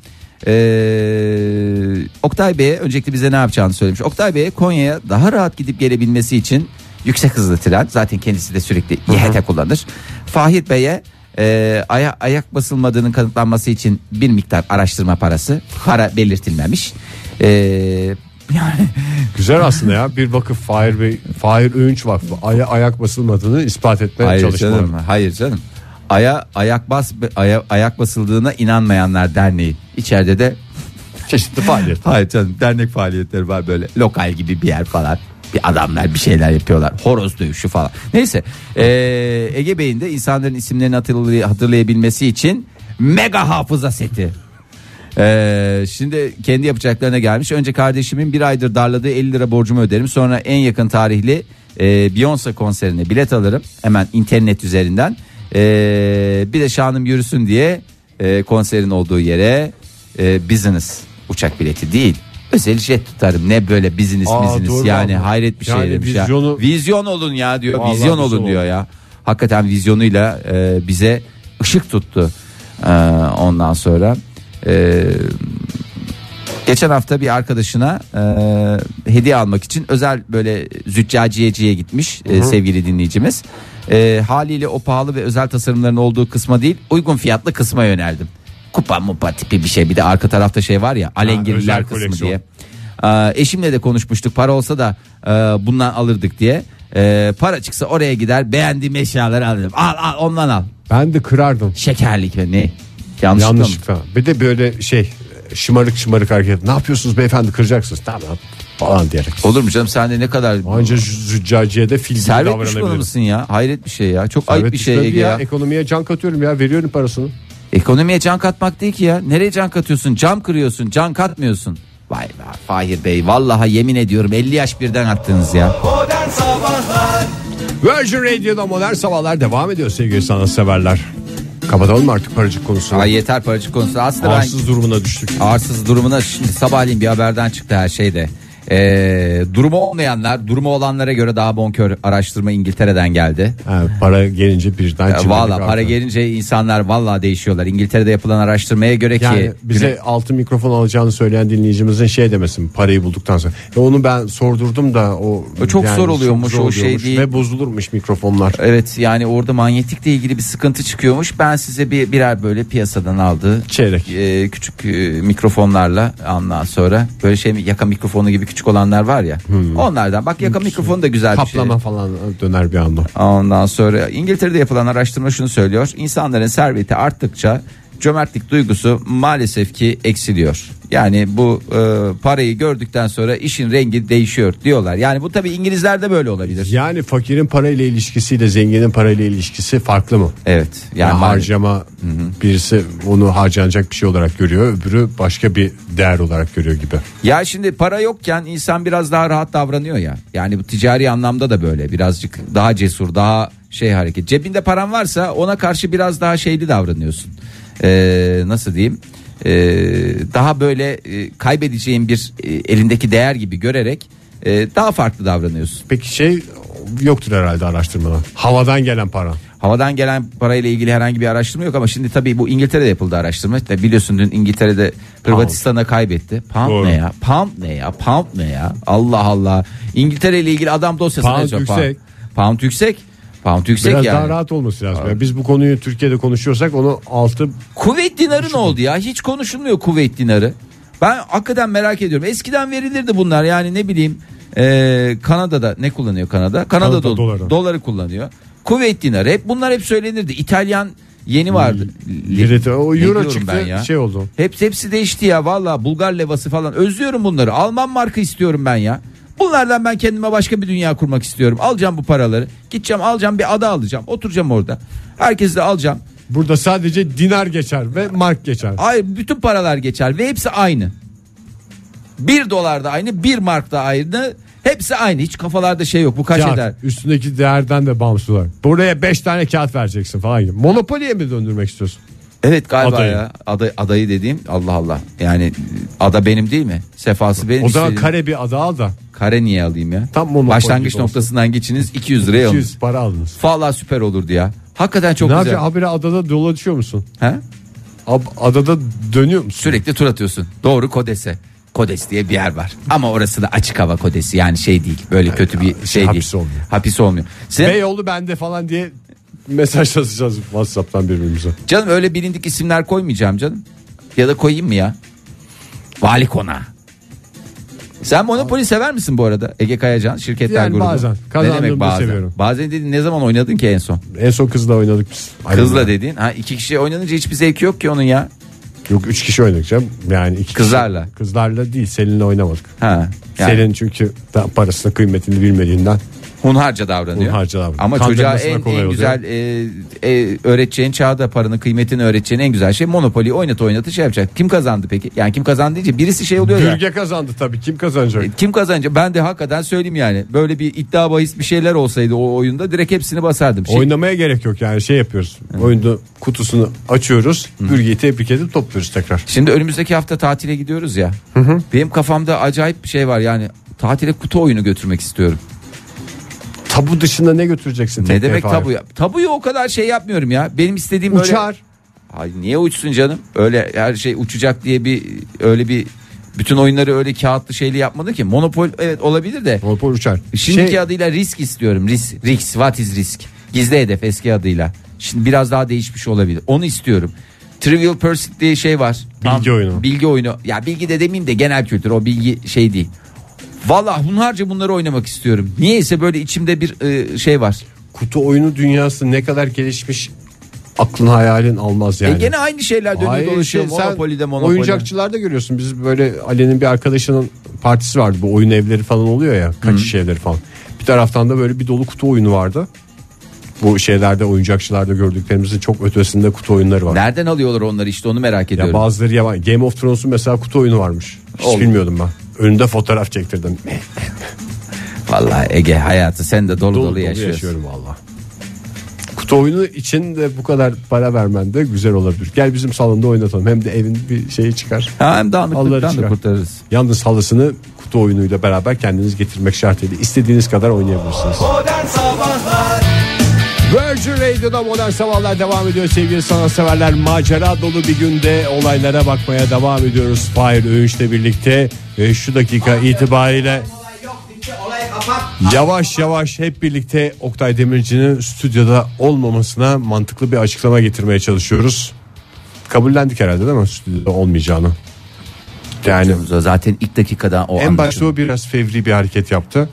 [SPEAKER 2] Ee, Oktay Bey'e öncelikle bize ne yapacağını söylemiş. Oktay Bey'e Konya'ya daha rahat gidip gelebilmesi için yüksek hızlı tren. Zaten kendisi de sürekli YHT kullanır. Fahir Bey'e e, aya- ayak basılmadığının kanıtlanması için bir miktar araştırma parası. Para belirtilmemiş. Ee, yani
[SPEAKER 1] Güzel aslında ya. Bir vakıf Fahir Bey, Fahir Öğünç Vakfı aya, ayak basılmadığını ispat etmeye
[SPEAKER 2] Hayır
[SPEAKER 1] çalışmaları.
[SPEAKER 2] canım, hayır canım. Aya ayak bas aya, ayak basıldığına inanmayanlar derneği. İçeride de
[SPEAKER 1] Çeşitli faaliyet.
[SPEAKER 2] hayır canım dernek faaliyetleri var böyle lokal gibi bir yer falan. Bir adamlar bir şeyler yapıyorlar. Horoz dövüşü falan. Neyse ee, Ege Bey'in de insanların isimlerini hatırlay- hatırlayabilmesi için mega hafıza seti. Ee, şimdi kendi yapacaklarına gelmiş. Önce kardeşimin bir aydır darladığı 50 lira borcumu öderim. Sonra en yakın tarihli e, Beyoncé konserine bilet alırım. Hemen internet üzerinden. Ee, bir de şanım yürüsün diye e, konserin olduğu yere e, business uçak bileti değil. Özel jet tutarım. Ne böyle business
[SPEAKER 1] Aa,
[SPEAKER 2] business
[SPEAKER 1] doğru
[SPEAKER 2] yani
[SPEAKER 1] vallahi.
[SPEAKER 2] hayret bir
[SPEAKER 1] Yani
[SPEAKER 2] şey demiş
[SPEAKER 1] vizyonu-
[SPEAKER 2] ya. Vizyon olun ya diyor.
[SPEAKER 1] Vallahi
[SPEAKER 2] vizyon olun
[SPEAKER 1] vizyon
[SPEAKER 2] diyor ya. Hakikaten vizyonuyla e, bize ışık tuttu. Ee, ondan sonra e, Geçen hafta bir arkadaşına e, hediye almak için özel böyle züccaciyeciye gitmiş e, sevgili dinleyicimiz. E, haliyle o pahalı ve özel tasarımların olduğu kısma değil uygun fiyatlı kısma yöneldim. Kupa mupa tipi bir şey bir de arka tarafta şey var ya
[SPEAKER 1] özel
[SPEAKER 2] alengirliler kısmı
[SPEAKER 1] koleksiyon.
[SPEAKER 2] diye. E, eşimle de konuşmuştuk para olsa da e, bundan alırdık diye. E, para çıksa oraya gider beğendiğim eşyaları alırım. Al al ondan al.
[SPEAKER 1] Ben de kırardım.
[SPEAKER 2] Şekerlik ve ne? Yanlışlıkla mı?
[SPEAKER 1] Yanlışlıkla. Bir de böyle şey şımarık şımarık hareket. Ne yapıyorsunuz beyefendi kıracaksınız. Tamam falan diyerek.
[SPEAKER 2] Olur mu canım sen de ne kadar...
[SPEAKER 1] Anca şey züccaciye de fil gibi
[SPEAKER 2] Servet düşmanı
[SPEAKER 1] davranabilirim.
[SPEAKER 2] mısın ya? Hayret bir şey ya. Çok
[SPEAKER 1] Evet,
[SPEAKER 2] ayıp bir şey
[SPEAKER 1] tabii
[SPEAKER 2] Ege
[SPEAKER 1] ya,
[SPEAKER 2] ya.
[SPEAKER 1] Ekonomiye can katıyorum ya veriyorum parasını.
[SPEAKER 2] Ekonomiye can katmak değil ki ya. Nereye can katıyorsun? Cam kırıyorsun, can katmıyorsun. Vay be Fahir Bey vallahi yemin ediyorum 50 yaş birden attınız ya.
[SPEAKER 1] Virgin Radio'da modern sabahlar devam ediyor sevgili sanatseverler. Kapatalım mı artık paracık konusunu?
[SPEAKER 2] Ay yeter paracık konusu. Aslında ben
[SPEAKER 1] Arsız durumuna düştük.
[SPEAKER 2] arsız durumuna şimdi sabahleyin bir haberden çıktı her şeyde. Ee, durumu olmayanlar, durumu olanlara göre daha bonkör araştırma İngiltere'den geldi.
[SPEAKER 1] Ha, para gelince birden
[SPEAKER 2] Ya
[SPEAKER 1] çıkıyor.
[SPEAKER 2] Valla para gelince insanlar valla değişiyorlar. İngiltere'de yapılan araştırmaya göre ki
[SPEAKER 1] Yani bize altı mikrofon alacağını söyleyen dinleyicimizin şey demesin parayı bulduktan sonra. E onu ben sordurdum da o,
[SPEAKER 2] O çok
[SPEAKER 1] yani
[SPEAKER 2] zor oluyormuş,
[SPEAKER 1] çok
[SPEAKER 2] o şey değil.
[SPEAKER 1] Ve bozulurmuş mikrofonlar.
[SPEAKER 2] Evet yani orada manyetikle ilgili bir sıkıntı çıkıyormuş. Ben size bir birer böyle piyasadan aldığı
[SPEAKER 1] Çeyrek.
[SPEAKER 2] e, küçük e, mikrofonlarla ondan sonra böyle şey mi- yaka mikrofonu gibi küçük olanlar var ya.
[SPEAKER 1] Hmm.
[SPEAKER 2] Onlardan bak yaka mikrofonu da güzel bir şey.
[SPEAKER 1] Kaplama falan e, döner bir anda.
[SPEAKER 2] Ondan sonra İngiltere'de yapılan araştırma şunu söylüyor. İnsanların serveti arttıkça cömertlik duygusu maalesef ki eksiliyor. Yani bu e, parayı gördükten sonra işin rengi değişiyor diyorlar. Yani bu tabii İngilizlerde böyle olabilir.
[SPEAKER 1] Yani fakirin parayla ilişkisiyle zenginin parayla ilişkisi farklı mı?
[SPEAKER 2] Evet.
[SPEAKER 1] Yani
[SPEAKER 2] Yani, maalesef.
[SPEAKER 1] harcama birisi onu harcanacak bir şey olarak görüyor, öbürü başka bir değer olarak görüyor gibi.
[SPEAKER 2] Ya şimdi para yokken insan biraz daha rahat davranıyor ya. Yani bu ticari anlamda da böyle birazcık daha cesur, daha şey hareket. Cebinde paran varsa ona karşı biraz daha şeyli davranıyorsun. Ee, nasıl diyeyim? Ee, daha böyle e, kaybedeceğin bir e, elindeki değer gibi görerek e, daha farklı davranıyorsun.
[SPEAKER 1] Peki şey yoktur herhalde araştırmada. Havadan gelen para.
[SPEAKER 2] Havadan gelen parayla ilgili herhangi bir araştırma yok ama şimdi tabii bu İngiltere'de yapıldı araştırma. İşte biliyorsun dün İngiltere'de Hırvatistan'a kaybetti. Pound
[SPEAKER 1] Doğru.
[SPEAKER 2] ne ya? Pound ne ya? Pound ne ya? Allah Allah. İngiltere ile ilgili adam dosyasına
[SPEAKER 1] Pound
[SPEAKER 2] yazıyor.
[SPEAKER 1] yüksek.
[SPEAKER 2] Pound. Pound yüksek. Pound yüksek
[SPEAKER 1] Biraz
[SPEAKER 2] yani.
[SPEAKER 1] daha rahat olması lazım. Yani biz bu konuyu Türkiye'de konuşuyorsak onu altı
[SPEAKER 2] Kuveyt dinarı ne oldu ya? Hiç konuşulmuyor Kuveyt dinarı. Ben hakikaten merak ediyorum. Eskiden verilirdi bunlar yani ne bileyim. eee, Kanada'da ne kullanıyor Kanada? Kanada,
[SPEAKER 1] Kanada
[SPEAKER 2] dol-
[SPEAKER 1] doları.
[SPEAKER 2] doları. kullanıyor. Kuveyt dinarı hep bunlar hep söylenirdi. İtalyan yeni vardı.
[SPEAKER 1] lirete o
[SPEAKER 2] Ne
[SPEAKER 1] euro
[SPEAKER 2] diyorum
[SPEAKER 1] çıktı
[SPEAKER 2] ben ya?
[SPEAKER 1] şey oldu.
[SPEAKER 2] Hep hepsi değişti ya valla Bulgar levası falan özlüyorum bunları Alman marka istiyorum ben ya Bunlardan ben kendime başka bir dünya kurmak istiyorum Alacağım bu paraları gideceğim alacağım bir ada alacağım oturacağım orada Herkesi de alacağım
[SPEAKER 1] Burada sadece dinar geçer ve mark geçer.
[SPEAKER 2] Hayır bütün paralar geçer ve hepsi aynı 1 dolar da aynı 1 mark da aynı hepsi aynı hiç kafalarda şey yok bu kaç
[SPEAKER 1] Kağıt,
[SPEAKER 2] eder
[SPEAKER 1] üstündeki değerden de bağımsız olarak. Buraya 5 tane kağıt vereceksin falan gibi. Monopoliye mi döndürmek istiyorsun?
[SPEAKER 2] Evet galiba
[SPEAKER 1] Adayı.
[SPEAKER 2] ya aday, adayı dediğim Allah Allah yani ada benim değil mi sefası benim
[SPEAKER 1] O zaman
[SPEAKER 2] istediğim-
[SPEAKER 1] kare bir ada al da
[SPEAKER 2] Kare niye alayım ya?
[SPEAKER 1] Tam monopol
[SPEAKER 2] Başlangıç
[SPEAKER 1] gibi olsun.
[SPEAKER 2] noktasından geçiniz 200 liraya alın.
[SPEAKER 1] 200 para alınız.
[SPEAKER 2] Valla süper olurdu ya. Hakikaten çok
[SPEAKER 1] ne
[SPEAKER 2] güzel.
[SPEAKER 1] yapacaksın? Habire adada dolaşıyor musun?
[SPEAKER 2] Ha?
[SPEAKER 1] Ab- adada dönüyor musun?
[SPEAKER 2] Sürekli tur atıyorsun. Doğru Kodes'e. Kodes diye bir yer var. Ama orası da açık hava kodesi. Yani şey değil. Böyle kötü bir şey değil.
[SPEAKER 1] hapis olmuyor.
[SPEAKER 2] Hapis olmuyor. Sen,
[SPEAKER 1] Beyoğlu bende falan diye mesajlaşacağız WhatsApp'tan birbirimize.
[SPEAKER 2] canım öyle bilindik isimler koymayacağım canım. Ya da koyayım mı ya? Vali Konağı. Sen Monopoly sever misin bu arada? Ege Kayacan şirketler
[SPEAKER 1] Yani
[SPEAKER 2] grubu.
[SPEAKER 1] bazen.
[SPEAKER 2] Ne
[SPEAKER 1] Kazandığımda
[SPEAKER 2] demek bazen?
[SPEAKER 1] seviyorum.
[SPEAKER 2] Bazen dedin ne zaman oynadın ki en son?
[SPEAKER 1] En son kızla oynadık biz.
[SPEAKER 2] Kızla dediğin. Ha iki kişi oynanınca hiçbir zevki yok ki onun ya.
[SPEAKER 1] Yok 3 kişi oynadık canım. Yani iki
[SPEAKER 2] Kızlarla.
[SPEAKER 1] Kişi, kızlarla değil Selin'le oynamadık.
[SPEAKER 2] Ha. Yani
[SPEAKER 1] Selin çünkü daha parasını kıymetini bilmediğinden
[SPEAKER 2] hunharca davranıyor.
[SPEAKER 1] Hunharca davranıyor.
[SPEAKER 2] Ama çocuğa
[SPEAKER 1] Kandırmasına
[SPEAKER 2] en,
[SPEAKER 1] kolay
[SPEAKER 2] en
[SPEAKER 1] oluyor.
[SPEAKER 2] güzel e, e, öğreteceğin çağda paranın kıymetini öğreteceğin en güzel şey Monopoly oynat oynatı şey yapacak. Kim kazandı peki? Yani kim kazandı deyince birisi şey oluyor ya.
[SPEAKER 1] Gürge kazandı tabii. Kim kazanacak?
[SPEAKER 2] E, Kim kazanacak? Ben de hakikaten söyleyeyim yani. Böyle bir iddia bahis bir şeyler olsaydı o oyunda direkt hepsini basardım. Şey,
[SPEAKER 1] Oynamaya gerek yok yani şey yapıyoruz. Oyunda kutusunu açıyoruz. Gürge'yi tebrik edip topluyoruz tekrar.
[SPEAKER 2] Şimdi önümüzdeki hafta tatile gidiyoruz ya. Benim kafamda acayip bir şey var yani. Tatile kutu oyunu götürmek istiyorum.
[SPEAKER 1] Tabu dışında ne götüreceksin?
[SPEAKER 2] Ne
[SPEAKER 1] tekneye
[SPEAKER 2] demek
[SPEAKER 1] falan?
[SPEAKER 2] tabu ya? Tabuyu o kadar şey yapmıyorum ya. Benim istediğim böyle...
[SPEAKER 1] Uçar.
[SPEAKER 2] Ay niye uçsun canım? Öyle her şey uçacak diye bir öyle bir bütün oyunları öyle kağıtlı şeyli yapmadı ki. Monopol evet olabilir de.
[SPEAKER 1] Monopol uçar.
[SPEAKER 2] Şimdiki
[SPEAKER 1] Şey-
[SPEAKER 2] adıyla risk istiyorum. Risk, risk, what is risk? Gizli hedef eski adıyla. Şimdi biraz daha değişmiş olabilir. Onu istiyorum. Trivial Pursuit diye şey var.
[SPEAKER 1] Bilgi oyunu.
[SPEAKER 2] Bilgi oyunu. Ya bilgi de demeyeyim de genel kültür o bilgi şey değil. Valla hunharca bunları oynamak istiyorum. Niyeyse böyle içimde bir e, şey var.
[SPEAKER 1] kutu oyunu dünyası ne kadar gelişmiş aklın hayalin almaz yani.
[SPEAKER 2] E gene aynı şeyler dönüyor
[SPEAKER 1] Hayır,
[SPEAKER 2] dolaşıyor.
[SPEAKER 1] şey, sen
[SPEAKER 2] Monopoly'de Monopoly.
[SPEAKER 1] Oyuncakçılarda görüyorsun. Biz böyle Ali'nin bir arkadaşının partisi vardı. Bu oyun evleri falan oluyor ya. Kaçış evleri falan. Bir taraftan da böyle bir dolu kutu oyunu vardı. Bu şeylerde oyuncakçılarda gördüklerimizin çok ötesinde kutu oyunları var.
[SPEAKER 2] Nereden alıyorlar onları işte onu merak
[SPEAKER 1] Ya
[SPEAKER 2] ediyorum.
[SPEAKER 1] bazıları yaman. Game of Thrones'un mesela kutu oyunu varmış. Hiç
[SPEAKER 2] Oğlum.
[SPEAKER 1] bilmiyordum ben. Önünde fotoğraf çektirdim.
[SPEAKER 2] Vallahi Ege hayatı sen de dolu dolu,
[SPEAKER 1] dolu dolu
[SPEAKER 2] yaşıyorsun.
[SPEAKER 1] yaşıyorum valla. Kutu oyunu için de bu kadar para vermen de güzel olabilir. Gel bizim salonda oynatalım. Hem de evin bir şeyi çıkar.
[SPEAKER 2] Ha, hem
[SPEAKER 1] Allah
[SPEAKER 2] dağınıklıktan da
[SPEAKER 1] çıkar.
[SPEAKER 2] kurtarırız.
[SPEAKER 1] Yalnız halısını kutu oyunuyla beraber kendiniz getirmek şartıyla istediğiniz kadar oynayabilirsiniz.
[SPEAKER 6] Modern Sabahlar
[SPEAKER 1] Virgin Radio'da modern sabahlar devam ediyor sevgili sanatseverler. Macera dolu bir günde olaylara bakmaya devam ediyoruz. Fahir Öğünç'le birlikte ve şu dakika itibariyle
[SPEAKER 6] Olay yok bitti olay kapat
[SPEAKER 1] yavaş yavaş hep birlikte Oktay Demirci'nin stüdyoda olmamasına mantıklı bir açıklama getirmeye çalışıyoruz. Kabullendik herhalde değil mi stüdyoda olmayacağını? Yani
[SPEAKER 2] Zaten ilk dakikadan o
[SPEAKER 1] en başta
[SPEAKER 2] anlaşıldı.
[SPEAKER 1] o biraz fevri bir hareket yaptı.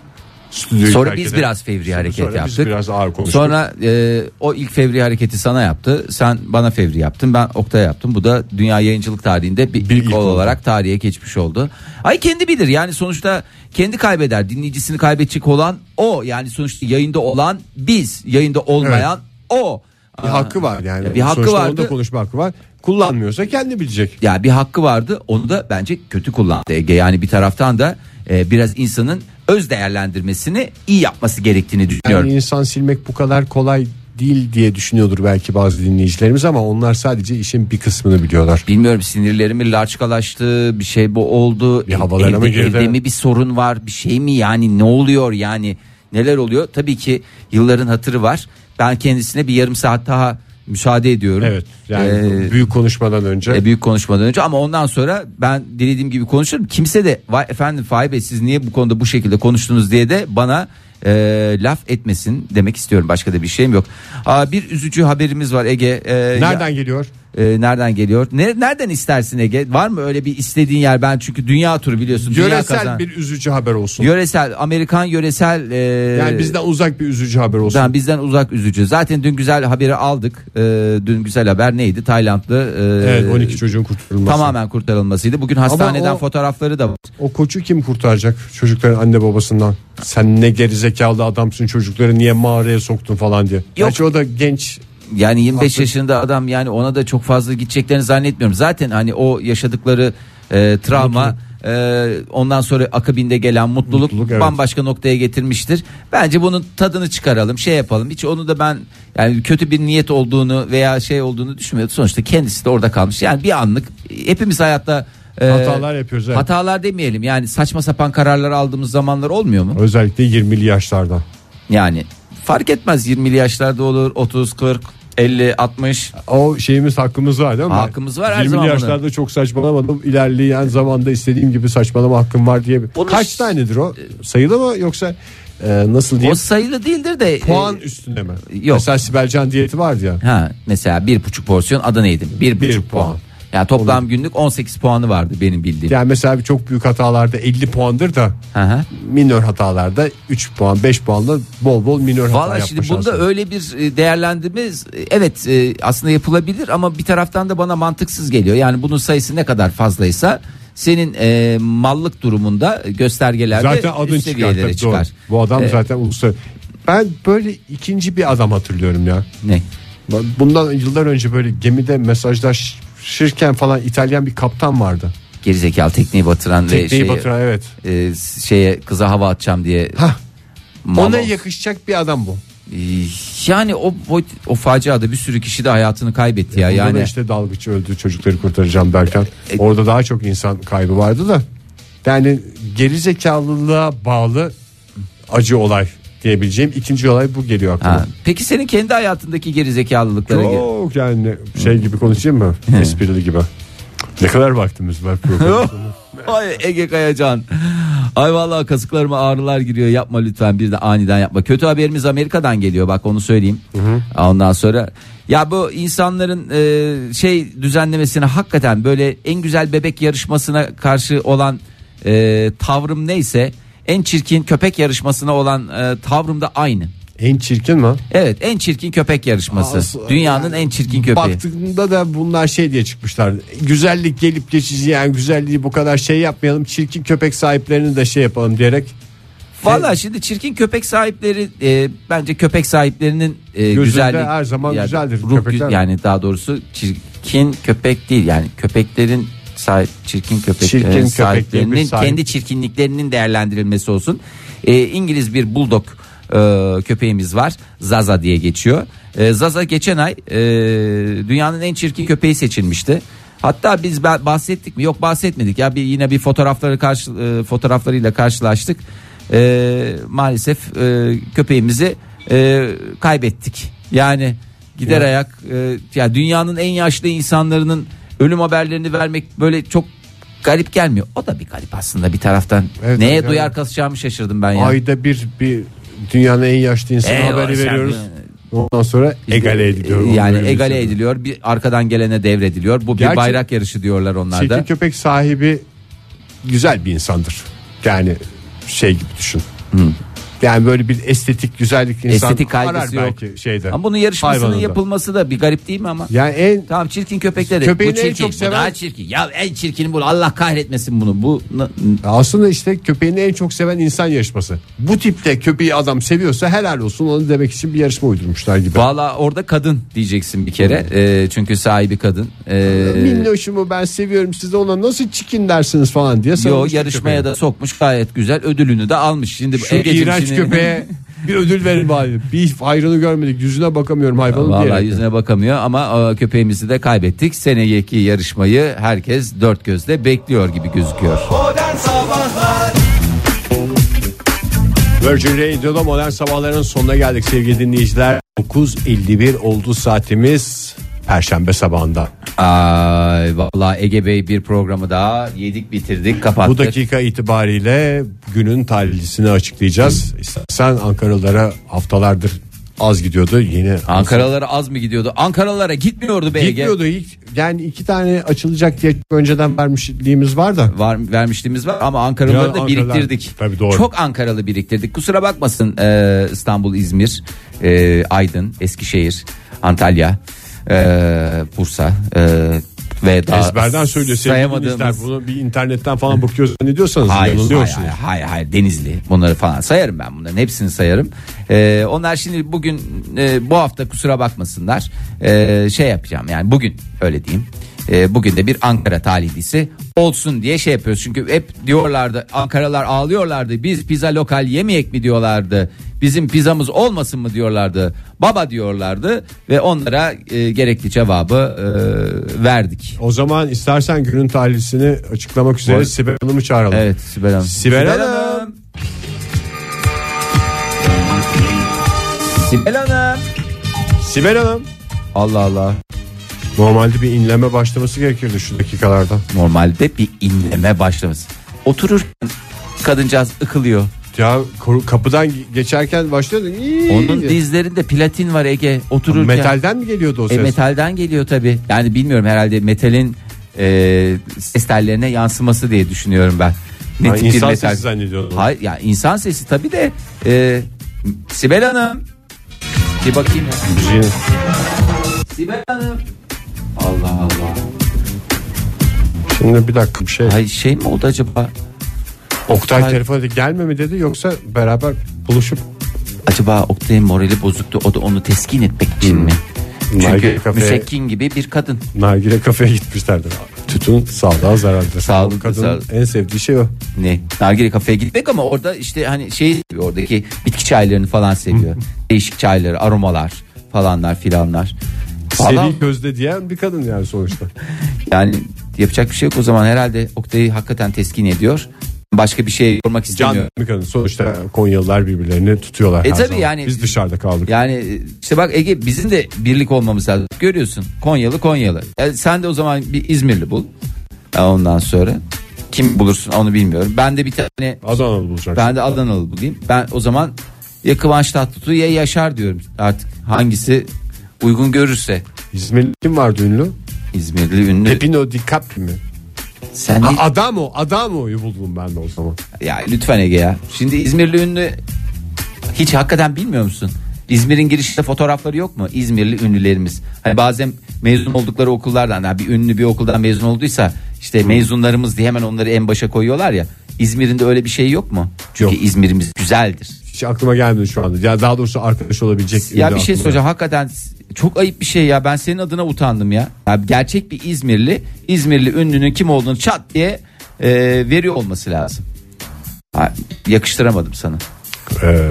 [SPEAKER 1] Stüdyoyu
[SPEAKER 2] Sonra
[SPEAKER 1] terk
[SPEAKER 2] biz
[SPEAKER 1] eden-
[SPEAKER 2] biraz fevri
[SPEAKER 1] Sonra
[SPEAKER 2] hareket
[SPEAKER 1] Biz
[SPEAKER 2] yaptık.
[SPEAKER 1] biraz ağır konuştuk.
[SPEAKER 2] Sonra e, o ilk fevri hareketi sana yaptı. Sen bana fevri yaptın. Ben Oktay'a yaptım. Bu da dünya yayıncılık tarihinde bir,
[SPEAKER 1] Bir
[SPEAKER 2] ilk
[SPEAKER 1] ilk oldu.
[SPEAKER 2] olarak tarihe geçmiş oldu. Ay kendi bilir. Yani sonuçta kendi kaybeder. Dinleyicisini kaybedecek olan o. Yani sonuçta yayında olan biz. Yayında olmayan o.
[SPEAKER 1] Bir hakkı var yani.
[SPEAKER 2] Bir hakkı
[SPEAKER 1] Sonuçta onun
[SPEAKER 2] vardı.
[SPEAKER 1] da konuşma hakkı var. Kullanmıyorsa kendi bilecek.
[SPEAKER 2] ya bir hakkı vardı onu da bence kötü kullandı Ege yani bir taraftan da e, biraz insanın öz değerlendirmesini iyi yapması gerektiğini düşünüyorum.
[SPEAKER 1] Yani insan silmek bu kadar kolay değil diye düşünüyordur belki bazı dinleyicilerimiz ama onlar sadece işin bir kısmını biliyorlar.
[SPEAKER 2] Bilmiyorum sinirlerimi larçkalaştı bir şey bu oldu.
[SPEAKER 1] Bir havalarına mı
[SPEAKER 2] Evde-
[SPEAKER 1] girdi?
[SPEAKER 2] evde mi bir sorun var bir şey mi yani ne oluyor yani neler oluyor? Tabii ki yılların hatırı var. Ben kendisine bir yarım saat daha müsaade ediyorum.
[SPEAKER 1] Evet. Yani
[SPEAKER 2] Ee,
[SPEAKER 1] büyük konuşmadan önce
[SPEAKER 2] E, büyük konuşmadan önce ama ondan sonra ben dilediğim gibi konuşurum. Kimse de vay efendim Fahri Bey siz niye bu konuda bu şekilde konuştunuz diye de bana e, laf etmesin demek istiyorum. Başka da bir şeyim yok. Aa, bir üzücü haberimiz var Ege. E,
[SPEAKER 1] nereden
[SPEAKER 2] ya-
[SPEAKER 1] geliyor?
[SPEAKER 2] e, nereden geliyor? Ne, nereden istersin Ege? Var mı öyle bir istediğin yer? Ben çünkü dünya turu biliyorsun. dünya
[SPEAKER 1] Yöresel
[SPEAKER 2] kazan.
[SPEAKER 1] bir üzücü haber olsun.
[SPEAKER 2] Yöresel, Amerikan yöresel. e,
[SPEAKER 1] yani bizden uzak bir üzücü haber olsun.
[SPEAKER 2] Bizden, bizden uzak üzücü. Zaten dün güzel haberi aldık. E, dün güzel haber neydi? Taylandlı e,
[SPEAKER 1] evet 12 çocuğun kurtarılması.
[SPEAKER 2] tamamen kurtarılmasıydı. Bugün hastaneden
[SPEAKER 1] o-
[SPEAKER 2] fotoğrafları da var.
[SPEAKER 1] O koçu kim kurtaracak? Çocukların anne babasından. Sen ne gerizekalı adamsın çocukları niye mağaraya soktun falan diye. Gerçi o da genç
[SPEAKER 2] Yani 25
[SPEAKER 1] Haklı.
[SPEAKER 2] yaşında adam yani ona da çok fazla gideceklerini zannetmiyorum. Zaten hani o yaşadıkları e, travma e, ondan sonra akabinde gelen mutluluk,
[SPEAKER 1] Mutluluk, evet.
[SPEAKER 2] bambaşka noktaya getirmiştir. Bence bunun tadını çıkaralım, şey yapalım. Hiç onu da ben yani kötü bir niyet olduğunu veya şey olduğunu düşünmüyorum. Sonuçta kendisi de orada kalmış. Yani bir anlık hepimiz hayatta e,
[SPEAKER 1] Hatalar yapıyoruz, evet.
[SPEAKER 2] Hatalar demeyelim. Yani saçma sapan kararlar aldığımız zamanlar olmuyor mu?
[SPEAKER 1] özellikle 20'li yaşlarda.
[SPEAKER 2] Yani fark etmez 20'li yaşlarda olur 30 40 50 60
[SPEAKER 1] O şeyimiz hakkımız var değil mi?
[SPEAKER 2] Hakkımız var her
[SPEAKER 1] 20'li
[SPEAKER 2] zaman
[SPEAKER 1] yaşlarda çok saçmalamadım. İlerleyen zamanda istediğim gibi saçmalama hakkım var diye.
[SPEAKER 2] Bunu-
[SPEAKER 1] Kaç tanedir o? Sayılı mı yoksa e, nasıl diyeyim?
[SPEAKER 2] O sayılı değildir de
[SPEAKER 1] Puan
[SPEAKER 2] e,
[SPEAKER 1] üstüne mi?
[SPEAKER 2] yok.
[SPEAKER 1] Mesela Sibel Can diyeti vardı ya.
[SPEAKER 2] ha mesela bir buçuk porsiyon Adana yedim bir buçuk
[SPEAKER 1] Bir
[SPEAKER 2] puan.
[SPEAKER 1] puan.
[SPEAKER 2] Yani toplam günlük 18 puanı vardı benim bildiğim.
[SPEAKER 1] Yani mesela bir çok büyük hatalarda 50 puandır da
[SPEAKER 2] Hı hı.
[SPEAKER 1] minör hatalarda 3 puan 5 puanla bol bol minör hata
[SPEAKER 2] Valla şimdi
[SPEAKER 1] yapmış
[SPEAKER 2] bunda
[SPEAKER 1] aslında.
[SPEAKER 2] öyle bir e, değerlendirme e, evet e, aslında yapılabilir ama bir taraftan da bana mantıksız geliyor. Yani bunun sayısı ne kadar fazlaysa senin e, mallık durumunda göstergelerde
[SPEAKER 1] Zaten adın
[SPEAKER 2] üst
[SPEAKER 1] çıkar,
[SPEAKER 2] seviyelere
[SPEAKER 1] tabii,
[SPEAKER 2] çıkar.
[SPEAKER 1] doğru. Bu adam
[SPEAKER 2] E,
[SPEAKER 1] zaten uluslararası. Ben böyle ikinci bir adam hatırlıyorum ya.
[SPEAKER 2] Ne?
[SPEAKER 1] Ben Bundan yıllar önce böyle gemide mesajlaşırken falan İtalyan bir kaptan vardı.
[SPEAKER 2] Gerizekalı tekneyi batıran ve
[SPEAKER 1] Tekneyi
[SPEAKER 2] şeyi,
[SPEAKER 1] batıran evet.
[SPEAKER 2] e, şeye kıza hava atacağım diye.
[SPEAKER 1] Hah.
[SPEAKER 2] mal
[SPEAKER 1] Ona
[SPEAKER 2] ol-
[SPEAKER 1] yakışacak bir adam bu.
[SPEAKER 2] Ee, Yani o o, o faciada bir sürü kişi de hayatını kaybetti ya.
[SPEAKER 1] Burada da
[SPEAKER 2] E, Yani E,
[SPEAKER 1] işte dalgıç öldü çocukları kurtaracağım derken. orada daha çok insan kaybı vardı da. Yani geri zekalılığa bağlı acı olay diyebileceğim ikinci olay bu geliyor aklıma.
[SPEAKER 2] ha. peki senin kendi hayatındaki gerizekalılıklara gel-
[SPEAKER 1] Çok yani şey gibi konuşayım mı? Esprili gibi. Ne kadar vaktimiz var programda?
[SPEAKER 2] Ay Ege Kayacan. Ay vallahi kasıklarıma ağrılar giriyor. Yapma lütfen bir de aniden yapma. Kötü haberimiz Amerika'dan geliyor bak onu söyleyeyim. Ondan sonra ya bu insanların e, şey düzenlemesine hakikaten böyle en güzel bebek yarışmasına karşı olan e, tavrım neyse en çirkin köpek yarışmasına olan e, tavrım da aynı.
[SPEAKER 1] en çirkin mi?
[SPEAKER 2] Evet en çirkin köpek yarışması.
[SPEAKER 1] As-
[SPEAKER 2] Dünyanın
[SPEAKER 1] yani
[SPEAKER 2] en çirkin köpeği.
[SPEAKER 1] Baktığında da bunlar şey diye çıkmışlar. Güzellik gelip geçici yani güzelliği bu kadar şey yapmayalım. Çirkin köpek sahiplerini de şey yapalım diyerek
[SPEAKER 2] Valla şimdi çirkin köpek sahipleri e, bence köpek sahiplerinin e,
[SPEAKER 1] Gözünde
[SPEAKER 2] güzellik
[SPEAKER 1] her zaman
[SPEAKER 2] yani
[SPEAKER 1] güzeldir
[SPEAKER 2] ruh gü-
[SPEAKER 1] köpekler.
[SPEAKER 2] yani daha doğrusu çirkin köpek değil yani köpeklerin sahip çirkin köpek
[SPEAKER 1] Çirkin köpek
[SPEAKER 2] e,
[SPEAKER 1] diye bir
[SPEAKER 2] sahiplerinin
[SPEAKER 1] sahip.
[SPEAKER 2] kendi çirkinliklerinin değerlendirilmesi olsun. E, İngiliz bir bulldog e, köpeğimiz var. Zaza Ee, diye geçiyor. E, Zaza geçen ay e, dünyanın en çirkin köpeği seçilmişti. Hatta biz ba- bahsettik mi? Yok bahsetmedik. Ya bir yine bir fotoğrafları karşı e, fotoğraflarıyla karşılaştık. E, maalesef e, köpeğimizi e, kaybettik. Yani gider ayak e, ya dünyanın en yaşlı insanların ölüm haberlerini vermek böyle çok garip gelmiyor. O da bir garip aslında bir taraftan.
[SPEAKER 1] Evet,
[SPEAKER 2] Neye
[SPEAKER 1] yani-
[SPEAKER 2] duyar kasacağımı şaşırdım ben ya.
[SPEAKER 1] Ayda bir bir dünyanın en yaşlı insanı
[SPEAKER 2] Eyvah,
[SPEAKER 1] haberi
[SPEAKER 2] sen-
[SPEAKER 1] veriyoruz. Ondan sonra egale ediliyor.
[SPEAKER 2] e, Yani
[SPEAKER 1] Öyle bir
[SPEAKER 2] egale
[SPEAKER 1] şey.
[SPEAKER 2] ediliyor. Bir arkadan gelene devrediliyor. Bu bir
[SPEAKER 1] Gerçi-
[SPEAKER 2] bayrak yarışı diyorlar onlar
[SPEAKER 1] Çirkin
[SPEAKER 2] da.
[SPEAKER 1] köpek sahibi güzel bir insandır. Yani şey gibi düşün. Yani böyle bir estetik güzellik insan
[SPEAKER 2] Estetik kaygısı
[SPEAKER 1] arar
[SPEAKER 2] yok.
[SPEAKER 1] belki şeyde.
[SPEAKER 2] Ama bunun yarışmasının
[SPEAKER 1] hayvanında.
[SPEAKER 2] yapılması da bir garip değil mi ama?
[SPEAKER 1] Yani en
[SPEAKER 2] Tamam çirkin köpekleri.
[SPEAKER 1] Köpeğin
[SPEAKER 2] bu
[SPEAKER 1] en
[SPEAKER 2] çirkin.
[SPEAKER 1] çok
[SPEAKER 2] bu
[SPEAKER 1] seven-
[SPEAKER 2] daha çirkin. Ya en çirkini bul. Allah kahretmesin bunu. Bu na-
[SPEAKER 1] aslında işte köpeğini en çok seven insan yarışması. Bu tipte köpeği adam seviyorsa helal olsun onu demek için bir yarışma uydurmuşlar gibi.
[SPEAKER 2] Valla orada kadın diyeceksin bir kere. Ee, çünkü sahibi kadın. Ee,
[SPEAKER 1] Minnoşumu ben seviyorum size ona nasıl çikin dersiniz falan diye
[SPEAKER 2] yo
[SPEAKER 1] sarılmış bir
[SPEAKER 2] yarışmaya
[SPEAKER 1] köpeğe.
[SPEAKER 2] da sokmuş gayet güzel. Ödülünü de almış. Şimdi bu
[SPEAKER 1] Şu
[SPEAKER 2] Egeciğim
[SPEAKER 1] iğrenç
[SPEAKER 2] şimdi-
[SPEAKER 1] köpeğe bir ödül verin bari. Bir hayrını görmedik yüzüne bakamıyorum hayvanın
[SPEAKER 2] Vallahi
[SPEAKER 1] diyerek.
[SPEAKER 2] yüzüne bakamıyor ama e, köpeğimizi de kaybettik. Seneyeki yarışmayı herkes dört gözle bekliyor gibi gözüküyor.
[SPEAKER 6] Modern Sabahlar
[SPEAKER 1] Virgin Radio'da modern sabahların sonuna geldik sevgili dinleyiciler. 9.51 oldu saatimiz Perşembe sabahında.
[SPEAKER 2] Ay vallahi Ege Bey bir programı daha yedik bitirdik kapattık.
[SPEAKER 1] Bu dakika itibariyle günün talihlisini açıklayacağız. İstersen Ankaralılara haftalardır az gidiyordu. Yine
[SPEAKER 2] Ankaralara az mı gidiyordu? Ankaralara gitmiyordu be Ege.
[SPEAKER 1] Gitmiyordu ilk. Yani iki tane açılacak diye önceden vermişliğimiz var da.
[SPEAKER 2] Var, vermişliğimiz var ama Ankaralıları
[SPEAKER 1] Ya
[SPEAKER 2] da
[SPEAKER 1] Ankaralar-
[SPEAKER 2] biriktirdik.
[SPEAKER 1] Tabii doğru.
[SPEAKER 2] Çok Ankaralı biriktirdik. Kusura bakmasın e, İstanbul, İzmir, e, Aydın, Eskişehir, Antalya, e, Bursa e, ve daha
[SPEAKER 1] Ezberden söylüyor sevgili
[SPEAKER 2] sayamadığımız-
[SPEAKER 1] dinleyiciler. Bunu bir internetten falan bakıyoruz zannediyorsanız
[SPEAKER 2] Hayır, hayır,
[SPEAKER 1] yanılıyorsunuz.
[SPEAKER 2] hayır, hayır, hayır, Denizli bunları falan sayarım ben bunların hepsini sayarım. Ee, onlar şimdi bugün e, bu hafta kusura bakmasınlar Ee, şey yapacağım yani bugün öyle diyeyim. Ee, bugün de bir Ankara talihlisi olsun diye şey yapıyoruz. Çünkü hep diyorlardı Ankaralar ağlıyorlardı biz pizza lokal yemeyek mi diyorlardı. Bizim pizzamız olmasın mı diyorlardı. Baba diyorlardı ve onlara e, gerekli cevabı e, verdik.
[SPEAKER 1] O zaman istersen günün talihlisini açıklamak üzere
[SPEAKER 2] Var.
[SPEAKER 1] Sibel Hanım'ı çağıralım.
[SPEAKER 2] Evet Sibel Hanım.
[SPEAKER 1] Sibel Hanım.
[SPEAKER 2] Sibel Hanım.
[SPEAKER 1] Sibel Hanım.
[SPEAKER 2] Allah Allah.
[SPEAKER 1] Normalde bir inleme başlaması gerekirdi şu dakikalarda.
[SPEAKER 2] Normalde bir inleme başlaması. Otururken kadıncağız ıkılıyor.
[SPEAKER 1] Ya koru- kapıdan geçerken başlıyordu. İyi
[SPEAKER 2] Onun
[SPEAKER 1] diye.
[SPEAKER 2] dizlerinde platin var Ege. Otururken.
[SPEAKER 1] Metalden mi geliyordu o ses?
[SPEAKER 2] E, metalden geliyor tabi. Yani bilmiyorum herhalde metalin e, ses tellerine yansıması diye düşünüyorum ben. Ne
[SPEAKER 1] Ha,
[SPEAKER 2] tip bir
[SPEAKER 1] insan
[SPEAKER 2] metal-
[SPEAKER 1] sesi zannediyordum.
[SPEAKER 2] Hayır ya insan sesi tabi de e, Sibel Hanım. Bir bakayım ya.
[SPEAKER 1] Müziğin-
[SPEAKER 2] Sibel Hanım. Allah Allah.
[SPEAKER 1] Şimdi bir dakika bir şey.
[SPEAKER 2] Ay şey mi oldu acaba?
[SPEAKER 1] Oktay
[SPEAKER 2] Hayır.
[SPEAKER 1] telefon dedi gelme mi dedi yoksa beraber buluşup
[SPEAKER 2] Acaba Oktay'ın morali bozuktu o da onu teskin etmek için mi?
[SPEAKER 1] Nargile
[SPEAKER 2] Çünkü
[SPEAKER 1] kafeye-
[SPEAKER 2] müsekkin gibi bir kadın.
[SPEAKER 1] nargile kafeye gitmişlerdi. Tütün sağlığa zararlıdır.
[SPEAKER 2] Sağlık-
[SPEAKER 1] O Kadının
[SPEAKER 2] sağlık.
[SPEAKER 1] en sevdiği şey o.
[SPEAKER 2] Ne? Nargile kafeye gitmek ama orada işte hani şey oradaki bitki çaylarını falan seviyor. Değişik çayları, aromalar falanlar filanlar. Valla
[SPEAKER 1] Seri gözde diyen bir kadın yani sonuçta.
[SPEAKER 2] yani yapacak bir şey yok o zaman herhalde Oktay'ı hakikaten teskin ediyor. Başka bir şey yormak
[SPEAKER 1] Can
[SPEAKER 2] istemiyor.
[SPEAKER 1] bir kadın. Sonuçta Konyalılar birbirlerini tutuyorlar.
[SPEAKER 2] E
[SPEAKER 1] her
[SPEAKER 2] tabii
[SPEAKER 1] zaman.
[SPEAKER 2] yani-
[SPEAKER 1] Biz dışarıda kaldık.
[SPEAKER 2] Yani e, işte bak Ege bizim de birlik olmamız lazım. Görüyorsun Konyalı Konyalı. E sen de o zaman bir İzmirli bul. E ondan sonra kim bulursun onu bilmiyorum. Ben de bir tane
[SPEAKER 1] Adana'da bulacak.
[SPEAKER 2] ben de Adanalı bulayım. Ben o zaman ya Kıvanç Tatlıtuğ ya Yaşar diyorum artık. Hangisi uygun görürse.
[SPEAKER 1] İzmirli kim vardı ünlü?
[SPEAKER 2] İzmirli ünlü.
[SPEAKER 1] Pepino DiCaprio mi?
[SPEAKER 2] Sen ne-
[SPEAKER 1] Ha, adam o. Adam o'yu buldum ben de o zaman.
[SPEAKER 2] ya lütfen Ege ya. Şimdi İzmirli ünlü hiç hakikaten bilmiyor musun? İzmir'in girişte fotoğrafları yok mu? İzmirli ünlülerimiz. Hani bazen mezun oldukları okullardan yani bir ünlü bir okuldan mezun olduysa işte mezunlarımız diye hemen onları en başa koyuyorlar ya. İzmir'in de öyle bir şey yok mu? Çünkü İzmir'imiz güzeldir.
[SPEAKER 1] Hiç aklıma gelmedi şu anda. Ya daha doğrusu arkadaş olabilecek. ünlü
[SPEAKER 2] Ya bir şey
[SPEAKER 1] aklıma.
[SPEAKER 2] soracağım hakikaten çok ayıp bir şey ya ben senin adına utandım ya. Ya gerçek bir İzmirli İzmirli ünlünün kim olduğunu çat diye e, veriyor olması lazım. Ha, yakıştıramadım sana.
[SPEAKER 1] Ee,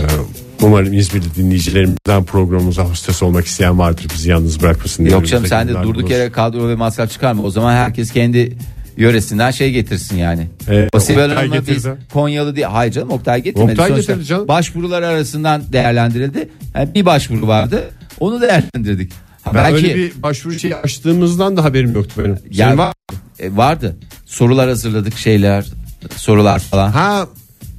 [SPEAKER 1] Umarım İzmirli dinleyicilerimizden programımıza hostes olmak isteyen vardır. Bizi yalnız bırakmasın. diye
[SPEAKER 2] Yok canım
[SPEAKER 1] önümüzdeki
[SPEAKER 2] sen de
[SPEAKER 1] günler
[SPEAKER 2] durduk
[SPEAKER 1] bulursun.
[SPEAKER 2] yere kadro ve masraf çıkarma. O zaman herkes kendi yöresinden şey getirsin yani.
[SPEAKER 1] Ee,
[SPEAKER 2] o Sibel
[SPEAKER 1] Oktay
[SPEAKER 2] Hanım'la biz
[SPEAKER 1] getirdi.
[SPEAKER 2] Konyalı diye. Hayır canım Oktay getirmedi.
[SPEAKER 1] Oktay
[SPEAKER 2] Sonuçta
[SPEAKER 1] getirdi canım.
[SPEAKER 2] Başvurular arasından değerlendirildi. Yani bir başvuru vardı. Onu değerlendirdik. Ha,
[SPEAKER 1] Ben
[SPEAKER 2] belki
[SPEAKER 1] öyle bir başvuru şeyi açtığımızdan da haberim yoktu benim.
[SPEAKER 2] Ya-
[SPEAKER 1] Senin var mı?
[SPEAKER 2] e, vardı. Sorular hazırladık şeyler, sorular falan.
[SPEAKER 1] Ha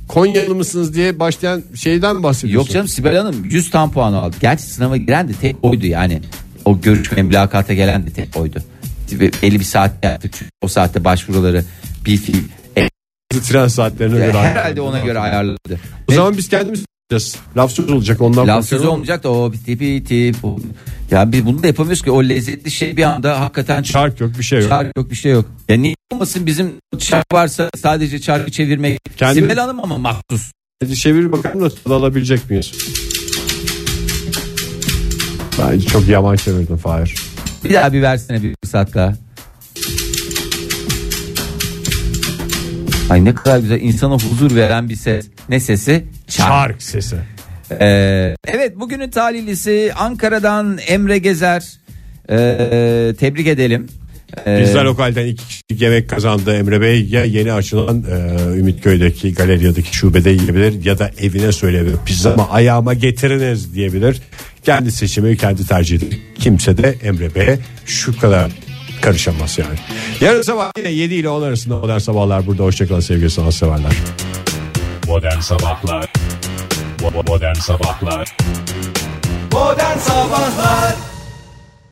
[SPEAKER 1] Konyalı mısınız diye başlayan şeyden bahsediyorsun.
[SPEAKER 2] Yok canım Sibel Hanım 100 tam puan aldı. Gerçi sınava giren de tek oydu yani. O görüşme mülakata gelen de tek oydu. Ve Belli bir saatte yaptık çünkü o saatte başvuruları bir fiil. E,
[SPEAKER 1] Tren saatlerine göre.
[SPEAKER 2] herhalde
[SPEAKER 1] ayarlandı.
[SPEAKER 2] ona göre ayarladı.
[SPEAKER 1] O zaman biz kendimiz yapacağız. Laf söz olacak ondan.
[SPEAKER 2] Laf sözü
[SPEAKER 1] korkuyorum.
[SPEAKER 2] olmayacak da o biti biti. o- Ya biz bunu da yapamıyoruz ki o lezzetli şey bir anda hakikaten çark,
[SPEAKER 1] Şark yok bir şey yok.
[SPEAKER 2] çark yok bir şey yok. Ya niye olmasın bizim çark varsa sadece çarkı çevirmek.
[SPEAKER 1] Kendi-
[SPEAKER 2] Sibel Hanım ama mahsus.
[SPEAKER 1] Hadi çevir bakalım da tadı alabilecek miyiz? Bence çok yaman çevirdin Fahir.
[SPEAKER 2] Bir daha bir versene bir fırsat daha. Ay ne kadar güzel insana huzur veren bir ses. Ne sesi? Çark.
[SPEAKER 1] sesi.
[SPEAKER 2] Ee, evet bugünün talihlisi Ankara'dan Emre Gezer. Ee, tebrik edelim. Ee,
[SPEAKER 1] Bizler lokalden iki kişilik yemek kazandı Emre Bey. Ya yeni açılan e, Ümitköy'deki galeryadaki şubede yiyebilir ya da evine söyleyebilir. Pizzamı ayağıma getiriniz diyebilir. Kendi seçimi kendi tercihidir. Kimse de Emre Bey'e şu kadar karışamaz yani. Yarın sabah yine 7 ile 10 arasında Modern Sabahlar burada. Hoşçakalın sevgili sanatseverler.
[SPEAKER 7] Modern Sabahlar Bo- bo- Modern Sabahlar
[SPEAKER 6] Modern Sabahlar